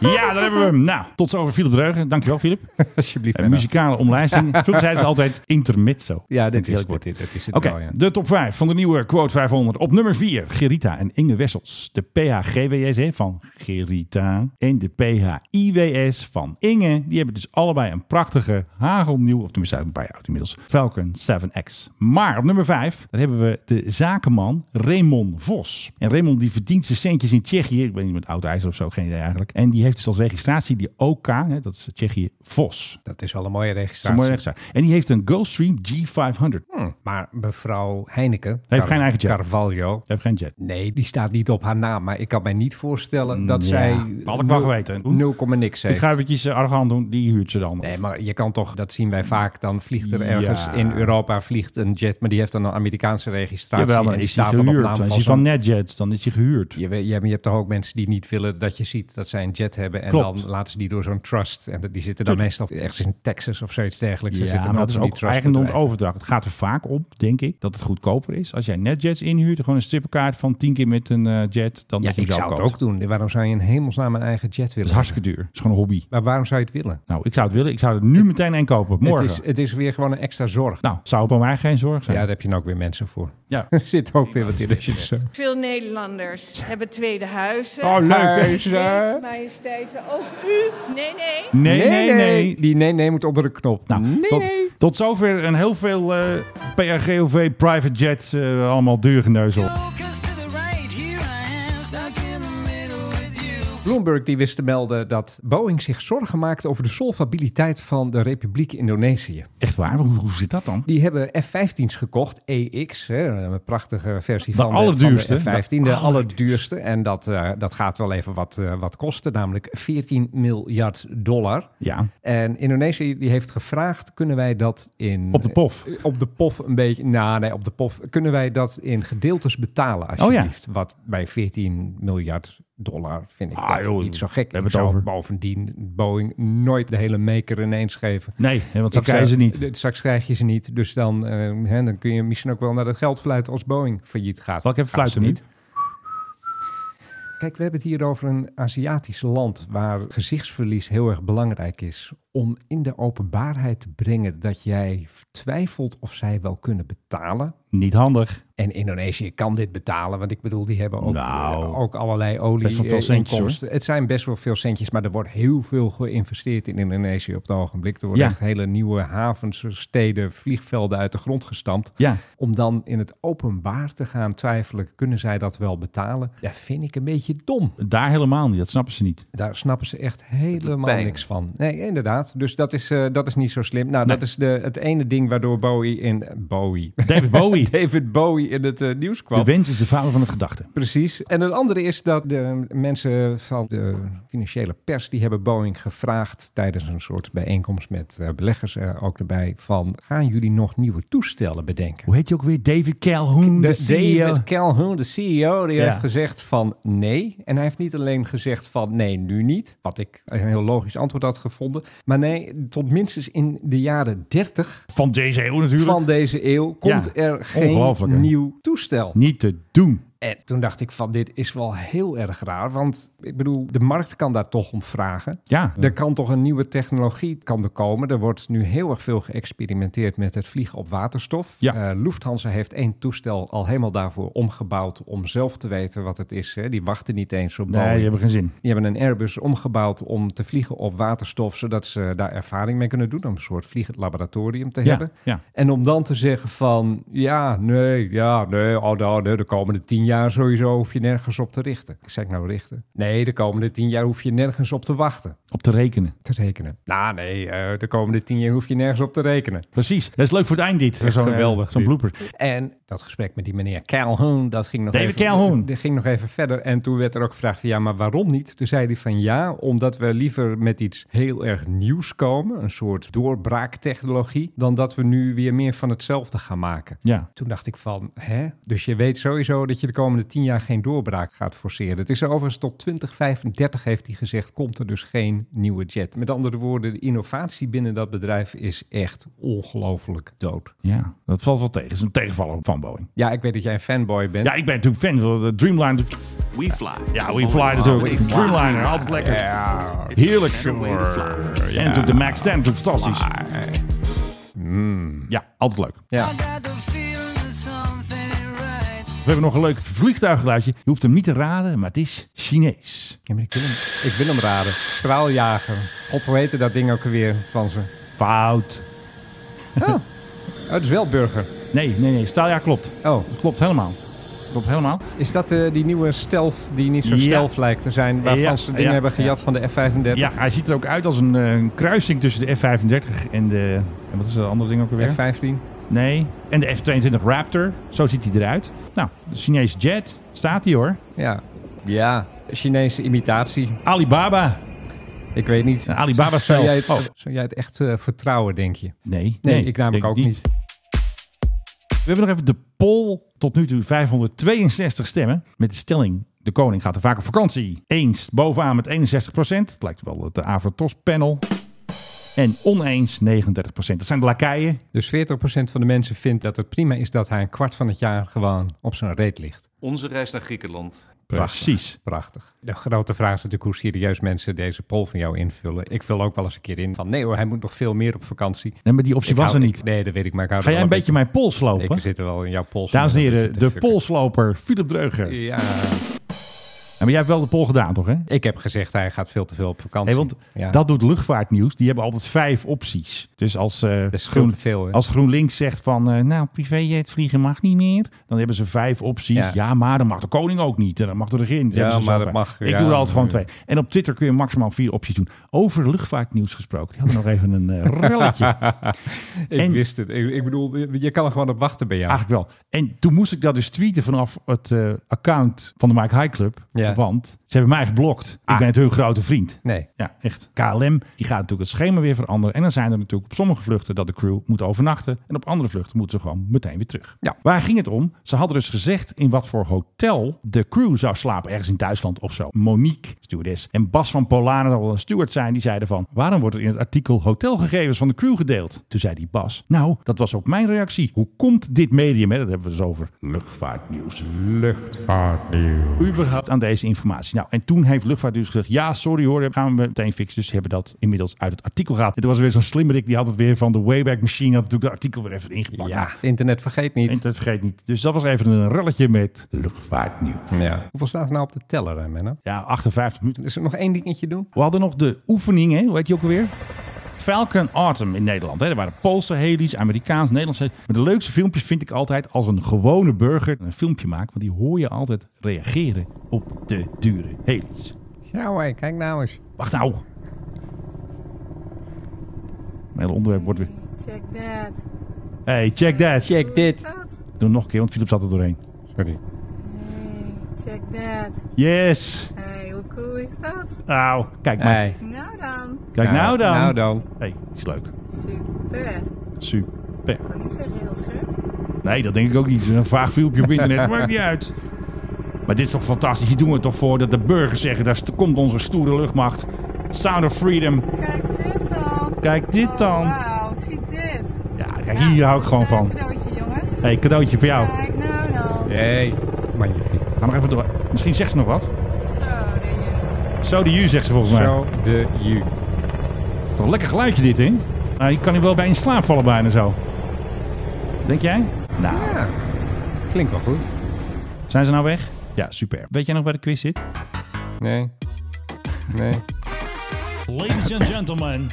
[SPEAKER 9] Ja, daar hebben we hem. Nou, tot zover Philip Dreugen. Dankjewel, Philip.
[SPEAKER 8] Alsjeblieft.
[SPEAKER 9] eh,
[SPEAKER 8] nou,
[SPEAKER 9] Een muzikale omlijsting. Vroeger zeiden ze altijd intermezzo.
[SPEAKER 8] Ja,
[SPEAKER 9] Vind ik
[SPEAKER 8] dit is,
[SPEAKER 9] heerlijk woord.
[SPEAKER 8] dit, dit, dit is het
[SPEAKER 9] Oké,
[SPEAKER 8] wel, ja.
[SPEAKER 9] de top 5 van de nieuwe Quote 500. Op nummer 4, Gerita en Inge Wessels. De PHGWS van Gerita en de PHIWS van Inge. Die hebben dus allebei een prachtige hagelnieuw, of tenminste een paar jaar oud inmiddels, Falcon 7X. Maar op nummer 5, daar hebben we de zakenman Raymond Vos. En Raymond die verdient zijn centjes in Tsjechië. Ik weet niet, met oud ijzer of zo, geen idee eigenlijk. En die heeft dus als registratie die OK, hè, dat is Tsjechië, VOS.
[SPEAKER 8] Dat is wel een mooie
[SPEAKER 9] Dat is een mooie
[SPEAKER 8] registratie.
[SPEAKER 9] registratie. En die heeft een Gulfstream G500.
[SPEAKER 8] maar mevrouw Heineken...
[SPEAKER 9] Heeft geen eigen jet.
[SPEAKER 8] Carvalho.
[SPEAKER 9] Heeft geen jet.
[SPEAKER 8] Nee, die staat niet op haar naam. Maar ik kan mij niet voorstellen dat
[SPEAKER 9] Mm, Ja,
[SPEAKER 8] zij...
[SPEAKER 9] had ik wel
[SPEAKER 8] nul-
[SPEAKER 9] geweten.
[SPEAKER 8] Nul komma niks heeft.
[SPEAKER 9] Ik ga eventjes eh, argwaan doen, die huurt ze dan.
[SPEAKER 8] Nee, maar je kan toch, dat zien wij vaak, dan vliegt er ergens
[SPEAKER 9] Ja.
[SPEAKER 8] in Europa vliegt een jet, maar die heeft dan een Amerikaanse registratie.
[SPEAKER 9] Jawel, maar
[SPEAKER 8] en die
[SPEAKER 9] is die
[SPEAKER 8] staat dan op
[SPEAKER 9] gehuurd? Dan is
[SPEAKER 8] naam van
[SPEAKER 9] die
[SPEAKER 8] zo'n-
[SPEAKER 9] van Netjet, dan is die gehuurd.
[SPEAKER 8] Je, weet- ja, maar je hebt toch ook mensen die niet willen dat je ziet dat zij een jet hebben. En
[SPEAKER 9] Klopt.
[SPEAKER 8] dan laten ze die door zo'n trust. En dat- die zitten dan
[SPEAKER 9] Tuurlijk.
[SPEAKER 8] meestal ergens in Texas of zoiets dergelijks. Daar
[SPEAKER 9] Ja,
[SPEAKER 8] zitten
[SPEAKER 9] maar dat
[SPEAKER 8] altijd
[SPEAKER 9] is
[SPEAKER 8] van die
[SPEAKER 9] ook
[SPEAKER 8] trustbedrijven.
[SPEAKER 9] eigendomsoverdracht. Het gaat er vaak om, denk ik, dat het goedkoper is. Als jij netjets inhuurt, gewoon een strippenkaart van 10 keer met een eh, jet, dan dat je
[SPEAKER 8] Ja,
[SPEAKER 9] hem
[SPEAKER 8] ik
[SPEAKER 9] zelf
[SPEAKER 8] zou het
[SPEAKER 9] koopt.
[SPEAKER 8] ook doen. Waarom zou je in hemelsnaam een eigen jet
[SPEAKER 9] Dat
[SPEAKER 8] willen?
[SPEAKER 9] is hartstikke duur. Het is gewoon een hobby.
[SPEAKER 8] Maar waarom zou je het willen?
[SPEAKER 9] Nou, ik zou het willen. Ik zou het nu meteen een kopen.
[SPEAKER 8] Het
[SPEAKER 9] Morgen.
[SPEAKER 8] is, het is weer gewoon een extra zorg.
[SPEAKER 9] Nou, zou het bij mij geen zorg zijn?
[SPEAKER 8] Ja, daar heb je nou ook weer mensen voor.
[SPEAKER 9] Ja.
[SPEAKER 8] Er zit ook weer wat in als je het zo...
[SPEAKER 11] Veel Nederlanders hebben tweede huizen.
[SPEAKER 8] Oh, leuk, hè?
[SPEAKER 11] Weet, majesteiten, ook u. Nee, nee.
[SPEAKER 9] Nee, nee, nee.
[SPEAKER 8] Die nee, nee moet onder de knop.
[SPEAKER 9] Nou, tot, tot zover en heel veel eh PRGOV private jets, eh, allemaal duurgeneuzel.
[SPEAKER 8] Bloomberg die wist te melden dat Boeing zich zorgen maakt over de solvabiliteit van de Republiek Indonesië.
[SPEAKER 9] Echt waar? Hoe, hoe zit dat dan?
[SPEAKER 8] Die hebben F-15's gekocht, EX, hè, een prachtige versie
[SPEAKER 9] De
[SPEAKER 8] van,
[SPEAKER 9] allerduurste.
[SPEAKER 8] de, van de F-15, de,
[SPEAKER 9] De
[SPEAKER 8] allerduurste. En dat, eh, dat gaat wel even wat, eh, wat kosten, namelijk 14 miljard dollar.
[SPEAKER 9] Ja.
[SPEAKER 8] En Indonesië die heeft gevraagd, kunnen wij dat in...
[SPEAKER 9] Op de pof.
[SPEAKER 8] eh, Op de pof een beetje, nou nee, op de pof. Kunnen wij dat in gedeeltes betalen
[SPEAKER 9] Oh
[SPEAKER 8] alsjeblieft? Wat bij 14 miljard dollar vind ik
[SPEAKER 9] Ah,
[SPEAKER 8] dat
[SPEAKER 9] joh,
[SPEAKER 8] niet zo gek.
[SPEAKER 9] we hebben
[SPEAKER 8] Ik
[SPEAKER 9] het
[SPEAKER 8] zou
[SPEAKER 9] over.
[SPEAKER 8] bovendien Boeing nooit de hele maker ineens geven.
[SPEAKER 9] Nee, hè, want
[SPEAKER 8] Ik
[SPEAKER 9] straks krijgen ze
[SPEAKER 8] zou-
[SPEAKER 9] niet.
[SPEAKER 8] d- Straks krijg je ze niet. Dus dan, eh, hè, dan kun je misschien ook wel naar dat geld fluiten als Boeing failliet gaat.
[SPEAKER 9] Welke
[SPEAKER 8] Gaan ze
[SPEAKER 9] fluiten nu?
[SPEAKER 8] Kijk, we hebben het hier over een Aziatisch land waar gezichtsverlies heel erg belangrijk is. Om in de openbaarheid te brengen dat jij twijfelt of zij wel kunnen betalen.
[SPEAKER 9] Niet handig.
[SPEAKER 8] En Indonesië kan dit betalen, want ik bedoel, die hebben ook,
[SPEAKER 9] Nou,
[SPEAKER 8] eh, ook allerlei olie
[SPEAKER 9] best wel veel
[SPEAKER 8] eh,
[SPEAKER 9] centjes,
[SPEAKER 8] inkomsten. Het zijn best wel veel centjes, maar er wordt heel veel geïnvesteerd in Indonesië op het ogenblik. Er worden
[SPEAKER 9] Ja.
[SPEAKER 8] echt hele nieuwe havens, eh, steden, vliegvelden uit de grond gestampt.
[SPEAKER 9] Ja.
[SPEAKER 8] Om dan in het openbaar te gaan twijfelen, kunnen zij dat wel betalen? Dat vind ik een beetje dom.
[SPEAKER 9] Daar helemaal niet. Dat snappen ze niet.
[SPEAKER 8] Daar snappen ze echt helemaal
[SPEAKER 9] Pijn.
[SPEAKER 8] niks van. Nee, inderdaad. Dus dat is, eh, dat is niet zo slim. Nou, dat is de, het ene ding waardoor Bowie in... Bowie.
[SPEAKER 9] David Bowie.
[SPEAKER 8] David Bowie in het eh, nieuws kwam.
[SPEAKER 9] De wens is de vader van het gedachte.
[SPEAKER 8] Precies. En het andere is dat de mensen van de financiële pers, die hebben Boeing gevraagd tijdens een soort bijeenkomst met eh, beleggers er ook erbij van, gaan jullie nog nieuwe toestellen bedenken?
[SPEAKER 9] Hoe heet je ook weer? David Calhoun, de, E CEO.
[SPEAKER 8] David Calhoun, de CEO, die
[SPEAKER 9] Ja.
[SPEAKER 8] heeft gezegd van nee. En hij heeft niet alleen gezegd van nee, nu niet. Wat ik een heel logisch antwoord had gevonden. Maar nee, tot minstens in de jaren 30
[SPEAKER 9] Van deze eeuw natuurlijk.
[SPEAKER 8] van deze eeuw komt
[SPEAKER 9] Ja,
[SPEAKER 8] er
[SPEAKER 9] ongelooflijk, hè?
[SPEAKER 8] geen nieuw toestel.
[SPEAKER 9] Niet te doen.
[SPEAKER 8] En toen dacht ik van, dit is wel heel erg raar. Want ik bedoel, de markt kan daar toch om vragen.
[SPEAKER 9] Ja.
[SPEAKER 8] Er kan toch een nieuwe technologie kan er komen. Er wordt nu heel erg veel geëxperimenteerd met het vliegen op waterstof.
[SPEAKER 9] Ja.
[SPEAKER 8] Eh, Lufthansa heeft één toestel al helemaal daarvoor omgebouwd... om zelf te weten wat het is. Hè. Die wachten niet eens op
[SPEAKER 9] Nee,
[SPEAKER 8] Boeing.
[SPEAKER 9] die hebben geen zin.
[SPEAKER 8] Die hebben een Airbus omgebouwd om te vliegen op waterstof... zodat ze daar ervaring mee kunnen doen. Om een soort vliegend laboratorium te
[SPEAKER 9] Ja,
[SPEAKER 8] hebben.
[SPEAKER 9] ja.
[SPEAKER 8] En om dan te zeggen van... ja, nee, ja, nee, oh, nou, nee, de komende tien jaar sowieso hoef je nergens op te richten. Zeg ik nou richten? Nee, de komende tien jaar hoef je nergens op te wachten.
[SPEAKER 9] Op te rekenen.
[SPEAKER 8] Te rekenen. Nou nee, eh, de komende tien jaar hoef je nergens op te rekenen.
[SPEAKER 9] Precies. Dat is leuk voor het eind dit.
[SPEAKER 8] Echt
[SPEAKER 9] Zo'n, eh,
[SPEAKER 8] geweldig.
[SPEAKER 9] Zo'n
[SPEAKER 8] dit.
[SPEAKER 9] blooper.
[SPEAKER 8] En dat gesprek met die meneer Calhoun, dat ging nog,
[SPEAKER 9] David
[SPEAKER 8] even,
[SPEAKER 9] Calhoun.
[SPEAKER 8] Dat ging nog even verder. En toen werd er ook gevraagd, van, ja, maar waarom niet? Toen zei hij van ja, omdat we liever met iets heel erg nieuws komen. Een soort doorbraaktechnologie. Dan dat we nu weer meer van hetzelfde gaan maken.
[SPEAKER 9] Ja.
[SPEAKER 8] Toen dacht ik van, hè? Dus je weet sowieso dat je de komende tien jaar geen doorbraak gaat forceren. Het is er overigens tot 2035 heeft hij gezegd, komt er dus geen nieuwe jet. Met andere woorden, de innovatie binnen dat bedrijf is echt ongelooflijk dood.
[SPEAKER 9] Ja. Dat valt wel tegen. Dat is een tegenvaller van Boeing.
[SPEAKER 8] Ja, ik weet dat jij een fanboy bent.
[SPEAKER 9] Ja, ik ben natuurlijk fan van de Dreamliner.
[SPEAKER 14] We fly.
[SPEAKER 9] Ja, we fly natuurlijk. Dreamliner, altijd lekker. Heerlijk. En toen de Max 10, toen fantastisch. Ja, altijd leuk.
[SPEAKER 8] Ja.
[SPEAKER 9] We hebben nog een leuk vliegtuiggeluidje. Je hoeft hem niet te raden, maar het is Chinees.
[SPEAKER 8] Ja, maar ik, wil hem, ik wil hem raden. Straaljager. God, hoe heette dat ding ook weer van ze?
[SPEAKER 9] Fout.
[SPEAKER 8] Oh, het is wel burger.
[SPEAKER 9] Nee, nee, nee. Staal, ja, klopt.
[SPEAKER 8] Oh,
[SPEAKER 9] Dat klopt helemaal. Klopt helemaal.
[SPEAKER 8] Is dat eh, die nieuwe stealth die niet zo
[SPEAKER 9] Ja.
[SPEAKER 8] stealth lijkt te zijn? Waarvan
[SPEAKER 9] Ja,
[SPEAKER 8] ze dingen
[SPEAKER 9] ja,
[SPEAKER 8] hebben gejat
[SPEAKER 9] ja.
[SPEAKER 8] van de F-35?
[SPEAKER 9] Ja, hij ziet er ook uit als een, eh, een kruising tussen de F-35 en de... En wat is dat andere ding ook alweer?
[SPEAKER 8] F-15?
[SPEAKER 9] Nee. En de F-22 Raptor. Zo ziet hij eruit. Nou, de Chinese jet. Staat hij hoor.
[SPEAKER 8] Ja. Ja, Chinese imitatie.
[SPEAKER 9] Alibaba.
[SPEAKER 8] Ik weet niet.
[SPEAKER 9] Alibaba
[SPEAKER 8] zou
[SPEAKER 9] zelf.
[SPEAKER 8] jij, het,
[SPEAKER 9] Nou, Oh.
[SPEAKER 8] zou jij het echt eh, vertrouwen, denk je?
[SPEAKER 9] Nee.
[SPEAKER 8] Nee,
[SPEAKER 9] Nee,
[SPEAKER 8] ik namelijk
[SPEAKER 9] denk
[SPEAKER 8] ook
[SPEAKER 9] ik
[SPEAKER 8] niet.
[SPEAKER 9] niet. We hebben nog even de poll. Tot nu toe 562 stemmen. Met de stelling... De koning gaat er vaak op vakantie. Eens bovenaan met 61%. Het lijkt wel het Avrotros-panel. En oneens 39%. Dat zijn de lakeien.
[SPEAKER 8] Dus 40% van de mensen vindt dat het prima is dat hij een kwart van het jaar gewoon op zijn reet ligt.
[SPEAKER 3] Onze reis naar Griekenland.
[SPEAKER 9] Precies.
[SPEAKER 8] Prachtig. De grote vraag is natuurlijk hoe serieus mensen deze poll van jou invullen. Ik vul ook wel eens een keer in van nee hoor, hij moet nog veel meer op vakantie.
[SPEAKER 9] Nee, maar die optie
[SPEAKER 8] Ik
[SPEAKER 9] was
[SPEAKER 8] hou-
[SPEAKER 9] er
[SPEAKER 8] ik-
[SPEAKER 9] niet.
[SPEAKER 8] nee, dat weet ik, maar ik hou
[SPEAKER 9] Ga
[SPEAKER 8] er
[SPEAKER 9] jij
[SPEAKER 8] wel
[SPEAKER 9] een beetje mijn pols lopen?
[SPEAKER 8] Ik zit er wel in jouw pols.
[SPEAKER 9] Dames en heren, de
[SPEAKER 8] pols.
[SPEAKER 9] polsloper Philip Dreuger.
[SPEAKER 8] Ja.
[SPEAKER 9] maar jij hebt wel de pol gedaan, toch? Hè?
[SPEAKER 8] Ik heb gezegd hij gaat veel te veel op vakantie.
[SPEAKER 9] Nee, want
[SPEAKER 8] Ja.
[SPEAKER 9] dat doet luchtvaartnieuws. Die hebben altijd vijf opties. Dus als, eh,
[SPEAKER 8] is veel
[SPEAKER 9] Groen,
[SPEAKER 8] te veel, hè?
[SPEAKER 9] als GroenLinks zegt van... eh nou, privéjet vliegen mag niet meer. Dan hebben ze vijf opties. Ja,
[SPEAKER 8] Ja.
[SPEAKER 9] maar dan mag de koning ook niet. En dan mag de regering niet.
[SPEAKER 8] Ja,
[SPEAKER 9] Hebben ze
[SPEAKER 8] maar
[SPEAKER 9] zo
[SPEAKER 8] dat
[SPEAKER 9] vijf.
[SPEAKER 8] mag,
[SPEAKER 9] Ik
[SPEAKER 8] ja,
[SPEAKER 9] doe er altijd gewoon twee.
[SPEAKER 8] natuurlijk.
[SPEAKER 9] En op Twitter kun je maximaal vier opties doen. Over luchtvaartnieuws gesproken. Die hadden nog even een eh, relletje.
[SPEAKER 8] ik
[SPEAKER 9] en- Ah.
[SPEAKER 8] wist het. Ik, ik bedoel, je- je kan er gewoon op wachten bij jou.
[SPEAKER 9] Eigenlijk wel. En toen moest ik dat dus tweeten vanaf het eh, account van de Mike High Club.
[SPEAKER 8] Ja. Ah.
[SPEAKER 9] Want ze hebben mij geblokt. Ik ben het hun grote vriend.
[SPEAKER 8] Nee.
[SPEAKER 9] Ja, echt. KLM, die gaat natuurlijk het schema weer veranderen. En dan zijn er natuurlijk op sommige vluchten dat de crew moet overnachten. En op andere vluchten moeten ze gewoon meteen weer terug. Ja. Waar ging het om? Ze hadden dus gezegd in wat voor hotel de crew zou slapen. Ergens in Duitsland of zo. Monique, stewardess. En Bas van Polaren, dat wel een steward zijn, die zeiden van... waarom wordt er in het artikel hotelgegevens van de crew gedeeld? Toen zei die Bas, nou, dat was ook mijn reactie. Hoe komt dit medium, hè, dat hebben we dus over luchtvaartnieuws
[SPEAKER 8] Luchtvaartnieuws.
[SPEAKER 9] überhaupt aan deze informatie? Nou, en toen heeft Luchtvaartdienst gezegd: ja, sorry hoor, dat gaan we meteen fixen. Dus ze hebben dat inmiddels uit het artikel gehaald. Het was weer zo'n slimmerik, die had het weer van de Wayback Machine, had natuurlijk het artikel weer even ingepakt.
[SPEAKER 8] Ja, internet vergeet niet.
[SPEAKER 9] Internet vergeet niet. Dus dat was even een relletje met luchtvaartnieuws.
[SPEAKER 8] Ja. Hoeveel staat er nou op de teller, hè, Menno?
[SPEAKER 9] Ja, 58 minuten.
[SPEAKER 8] Is er nog één dingetje doen?
[SPEAKER 9] We hadden nog de oefening, hè? hoe heet die ook alweer? Falcon Autumn in Nederland. Hè? Er waren Poolse helis, Amerikaans, Nederlands. helis. Maar de leukste filmpjes vind ik altijd als een gewone burger een filmpje maakt. Want die hoor je altijd reageren op de dure helis.
[SPEAKER 8] Ja hoor, kijk nou eens.
[SPEAKER 9] Wacht nou. Mijn hele onderwerp wordt weer...
[SPEAKER 14] Check that.
[SPEAKER 9] Hey, check that.
[SPEAKER 8] Check dit.
[SPEAKER 9] Doe hem nog een keer, want Philip zat er doorheen.
[SPEAKER 8] Sorry.
[SPEAKER 14] Check that.
[SPEAKER 9] Yes.
[SPEAKER 14] Hey, hoe cool is dat?
[SPEAKER 9] Auw. Kijk maar.
[SPEAKER 8] Hey.
[SPEAKER 14] Nou dan.
[SPEAKER 9] Kijk nou dan.
[SPEAKER 8] Nou dan.
[SPEAKER 9] hey, is leuk.
[SPEAKER 14] Super.
[SPEAKER 9] Super.
[SPEAKER 14] Kan niet zeggen heel scherp.
[SPEAKER 9] Nee, dat denk ik ook niet. Het is Een vaag filmpje op internet. Maakt niet uit. Maar dit is toch fantastisch. Hier doen we het toch voor dat de burgers zeggen... daar st- komt onze stoere luchtmacht. Sound of freedom.
[SPEAKER 14] Kijk dit dan.
[SPEAKER 9] Kijk dit dan.
[SPEAKER 14] Oh, Wauw, zie dit.
[SPEAKER 9] Ja, kijk, hier hou ik gewoon van.
[SPEAKER 14] Een cadeautje, jongens.
[SPEAKER 9] Hé, hey, cadeautje voor jou.
[SPEAKER 14] Kijk nou dan.
[SPEAKER 8] Hey. Magnifiek.
[SPEAKER 9] Ga nog even door. Misschien zegt ze nog wat.
[SPEAKER 14] Zo, de ju.
[SPEAKER 9] Zo de U zegt ze volgens mij.
[SPEAKER 8] Zo de you.
[SPEAKER 9] Toch lekker geluidje dit, hè? Nou, je kan hier wel bij in slaap vallen bijna zo. Denk jij? Nou,
[SPEAKER 8] Ja. Klinkt wel goed.
[SPEAKER 9] zijn ze nou weg? Ja, super. Weet jij nog waar de quiz zit?
[SPEAKER 8] Nee. Nee.
[SPEAKER 9] Ladies and gentlemen.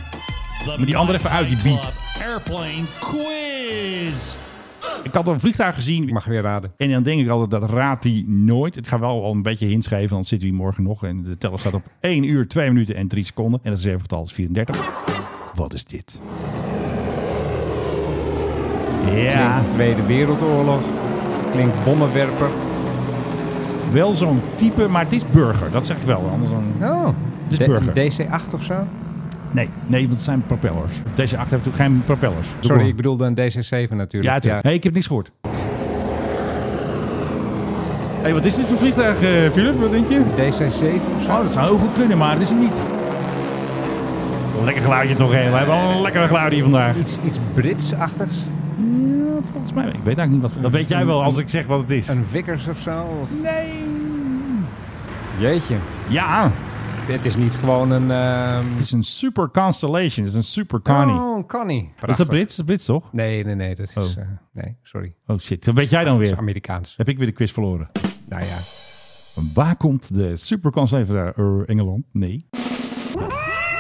[SPEAKER 9] Maar die andere even uit, die beat. Airplane quiz. Ik had een vliegtuig gezien.
[SPEAKER 8] Ik mag weer raden.
[SPEAKER 9] En dan denk ik altijd, dat raadt hij nooit. Ik ga wel al een beetje hints geven, want zitten we hier morgen nog. En de teller staat op 1 uur, 2 minuten en 3 seconden. En dat reservegetal is 34. Wat is dit? Ja,
[SPEAKER 8] Klinkt Tweede Wereldoorlog. Klinkt bommenwerper.
[SPEAKER 9] wel zo'n type, maar het is burger. Dat zeg ik wel, anders dan...
[SPEAKER 8] Oh.
[SPEAKER 9] Het is
[SPEAKER 8] De-
[SPEAKER 9] dus burger.
[SPEAKER 8] DC-8 of zo?
[SPEAKER 9] Nee, nee, want het zijn propellers. Deze achter hebben toen geen propellers. Doe
[SPEAKER 8] Sorry,
[SPEAKER 9] maar.
[SPEAKER 8] ik bedoelde een DC-7 natuurlijk.
[SPEAKER 9] Ja, natuurlijk. Hey, ik heb niks gehoord. hey, wat is dit voor vliegtuig, eh Philip? Wat denk je?
[SPEAKER 8] DC-7 of zo?
[SPEAKER 9] Oh, dat zou heel goed kunnen, maar het is hem niet. Lekker geluidje toch, hè? We hebben al een lekkere geluid hier vandaag.
[SPEAKER 8] Iets, iets Brits-achtigs?
[SPEAKER 9] Ja, volgens mij. Ik weet eigenlijk niet wat. Dat weet jij wel als ik zeg wat het is.
[SPEAKER 8] Een Vickers of zo? Of-
[SPEAKER 9] Nee.
[SPEAKER 8] Jeetje.
[SPEAKER 9] Ja,
[SPEAKER 8] Het is niet gewoon een... ehm,
[SPEAKER 9] het is een Super Constellation. Het is een Super Connie.
[SPEAKER 8] Oh, Connie.
[SPEAKER 9] is dat Brits? Dat is Brits, toch?
[SPEAKER 8] Nee, nee, nee. Dat is...
[SPEAKER 9] Oh.
[SPEAKER 8] eh, nee, sorry.
[SPEAKER 9] Oh shit, dat weet jij dan
[SPEAKER 8] Dat is
[SPEAKER 9] weer.
[SPEAKER 8] Amerikaans.
[SPEAKER 9] Heb ik weer de quiz verloren.
[SPEAKER 8] Nou ja.
[SPEAKER 9] Waar komt de Super Constellation van Engeland? Nee.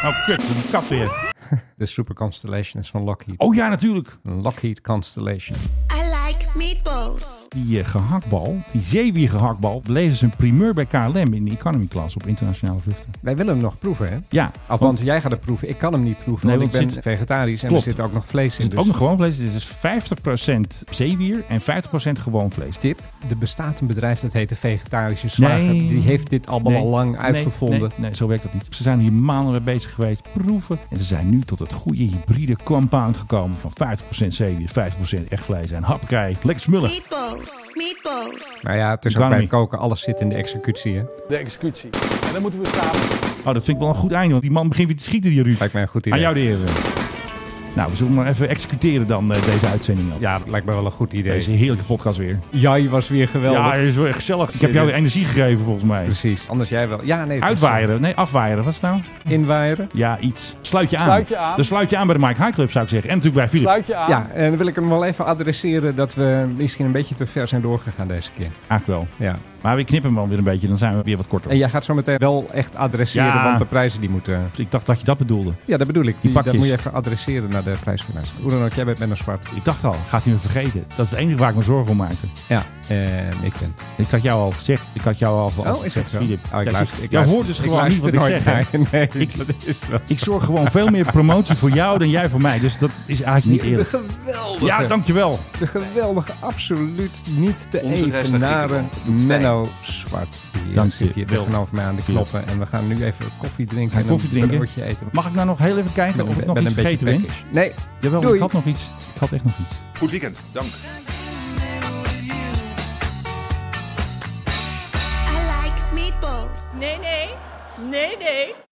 [SPEAKER 9] Oh, kut. Die kat weer.
[SPEAKER 8] De Super Constellation is van Lockheed.
[SPEAKER 9] Oh ja, natuurlijk.
[SPEAKER 8] Een Lockheed Constellation.
[SPEAKER 2] I like meatballs.
[SPEAKER 9] Die eh, gehaktbal, die zeewiegenhaktbal, bleven ze een primeur bij KLM in de economy class op internationale vluchten.
[SPEAKER 8] Wij willen hem nog proeven, hè?
[SPEAKER 9] Ja.
[SPEAKER 8] Of, want jij gaat het proeven. Ik kan hem niet proeven,
[SPEAKER 9] Nee,
[SPEAKER 8] want ik
[SPEAKER 9] want
[SPEAKER 8] ben
[SPEAKER 9] het zit-
[SPEAKER 8] vegetarisch en
[SPEAKER 9] Klopt.
[SPEAKER 8] er zit ook nog vlees in.
[SPEAKER 9] Er zit
[SPEAKER 8] dus-
[SPEAKER 9] ook nog gewoon vlees. Het is dus 50% zeewier en 50% gewoon vlees.
[SPEAKER 8] Tip, er bestaat een bedrijf dat heet de Vegetarische Slager. Die heeft dit allemaal
[SPEAKER 9] Nee.
[SPEAKER 8] al lang
[SPEAKER 9] Nee,
[SPEAKER 8] uitgevonden.
[SPEAKER 9] Nee, nee, zo werkt dat niet. Ze zijn hier maanden mee bezig geweest, proeven. En ze zijn nu tot het goede hybride compound gekomen van 50% zeewier, 5% echt vlees. En hapkei, lekker smullen.
[SPEAKER 2] Meatballs. Meatballs.
[SPEAKER 8] Maar Nou ja, het is ook
[SPEAKER 9] Economy.
[SPEAKER 8] bij het koken. Alles zit in de executie, hè?
[SPEAKER 5] De executie. En dan moeten we samen.
[SPEAKER 9] Oh, dat vind ik wel een goed einde, want die man begint weer te schieten, die Ruud.
[SPEAKER 8] Lijkt mij een goed
[SPEAKER 9] Aan
[SPEAKER 8] idee.
[SPEAKER 9] jou de eer. Nou, we zullen maar even executeren dan eh, deze uitzending.
[SPEAKER 8] Ja, dat lijkt me wel een goed idee.
[SPEAKER 9] Deze heerlijke podcast weer.
[SPEAKER 8] Jij was weer geweldig.
[SPEAKER 9] Ja, is wel gezellig. Ik heb jou weer energie gegeven volgens mij.
[SPEAKER 8] Precies. Anders jij wel. Ja, nee. het is- eh,
[SPEAKER 9] Uitwaaieren. Nee, afwaaieren. Wat is het nou?
[SPEAKER 8] Inwaaieren.
[SPEAKER 9] Ja, iets. Sluit je aan.
[SPEAKER 8] Sluit je aan.
[SPEAKER 9] Dan sluit je aan bij de Mike High Club, zou ik zeggen. En natuurlijk bij Philip.
[SPEAKER 8] Ja, en dan wil ik hem wel even adresseren dat we misschien een beetje te ver zijn doorgegaan deze keer.
[SPEAKER 9] Eigenlijk
[SPEAKER 8] wel. Ja.
[SPEAKER 9] Maar we knippen hem wel weer een beetje. Dan zijn we weer wat korter.
[SPEAKER 8] En jij gaat zo meteen wel echt adresseren,
[SPEAKER 9] Ja.
[SPEAKER 8] want de prijzen die moeten...
[SPEAKER 9] Ik dacht dat je dat bedoelde.
[SPEAKER 8] Ja, dat bedoel ik. Die, dat
[SPEAKER 9] pakjes.
[SPEAKER 8] moet je even adresseren naar de prijswinnaars. Hoe dan ook, jij bent met een zwart.
[SPEAKER 9] Ik dacht al, gaat hij me vergeten? Dat is het enige waar ik me zorgen om maakte.
[SPEAKER 8] Ja, en ik ben.
[SPEAKER 9] Ik had jou al gezegd. Ik had jou al al
[SPEAKER 8] Oh, is dat
[SPEAKER 9] gezegd,
[SPEAKER 8] zo?
[SPEAKER 9] Philip.
[SPEAKER 8] Oh, ik
[SPEAKER 9] Ja,
[SPEAKER 8] luister-
[SPEAKER 9] zie-
[SPEAKER 8] ik
[SPEAKER 9] jij
[SPEAKER 8] luister-
[SPEAKER 9] hoort dus
[SPEAKER 8] ik
[SPEAKER 9] gewoon niet wat
[SPEAKER 8] luister
[SPEAKER 9] ik
[SPEAKER 8] nooit
[SPEAKER 9] zeg. hè?
[SPEAKER 8] naar je. Nee,
[SPEAKER 9] ik,
[SPEAKER 8] dat is wel
[SPEAKER 9] ik zorg gewoon veel meer promotie voor jou dan jij voor mij. Dus dat is eigenlijk niet
[SPEAKER 8] De
[SPEAKER 9] eerlijk.
[SPEAKER 8] geweldige...
[SPEAKER 9] Ja, dankjewel.
[SPEAKER 8] De geweldige, absoluut niet te
[SPEAKER 3] Onze reis naar
[SPEAKER 8] evenaren
[SPEAKER 3] Griekenland.
[SPEAKER 8] Menno Zwart. Die
[SPEAKER 9] Dank
[SPEAKER 8] zit
[SPEAKER 9] je
[SPEAKER 8] hier
[SPEAKER 9] wel.
[SPEAKER 8] tegenover mij aan de
[SPEAKER 9] Philip.
[SPEAKER 8] knoppen. En we gaan nu even koffie drinken
[SPEAKER 9] Ga
[SPEAKER 8] en
[SPEAKER 9] koffie
[SPEAKER 8] een
[SPEAKER 9] drinken.
[SPEAKER 8] broodje eten.
[SPEAKER 9] Mag ik nou nog heel even kijken of ik
[SPEAKER 8] Ben-
[SPEAKER 9] nog
[SPEAKER 8] ben
[SPEAKER 9] iets
[SPEAKER 8] een beetje
[SPEAKER 9] vergeten ben?
[SPEAKER 8] peckish. Nee.
[SPEAKER 9] Jawel,
[SPEAKER 8] Doei.
[SPEAKER 9] ik had nog iets. Ik had echt nog iets.
[SPEAKER 7] Goed weekend. Dank.
[SPEAKER 2] I like meatballs.
[SPEAKER 11] Nee, nee. Nee, nee.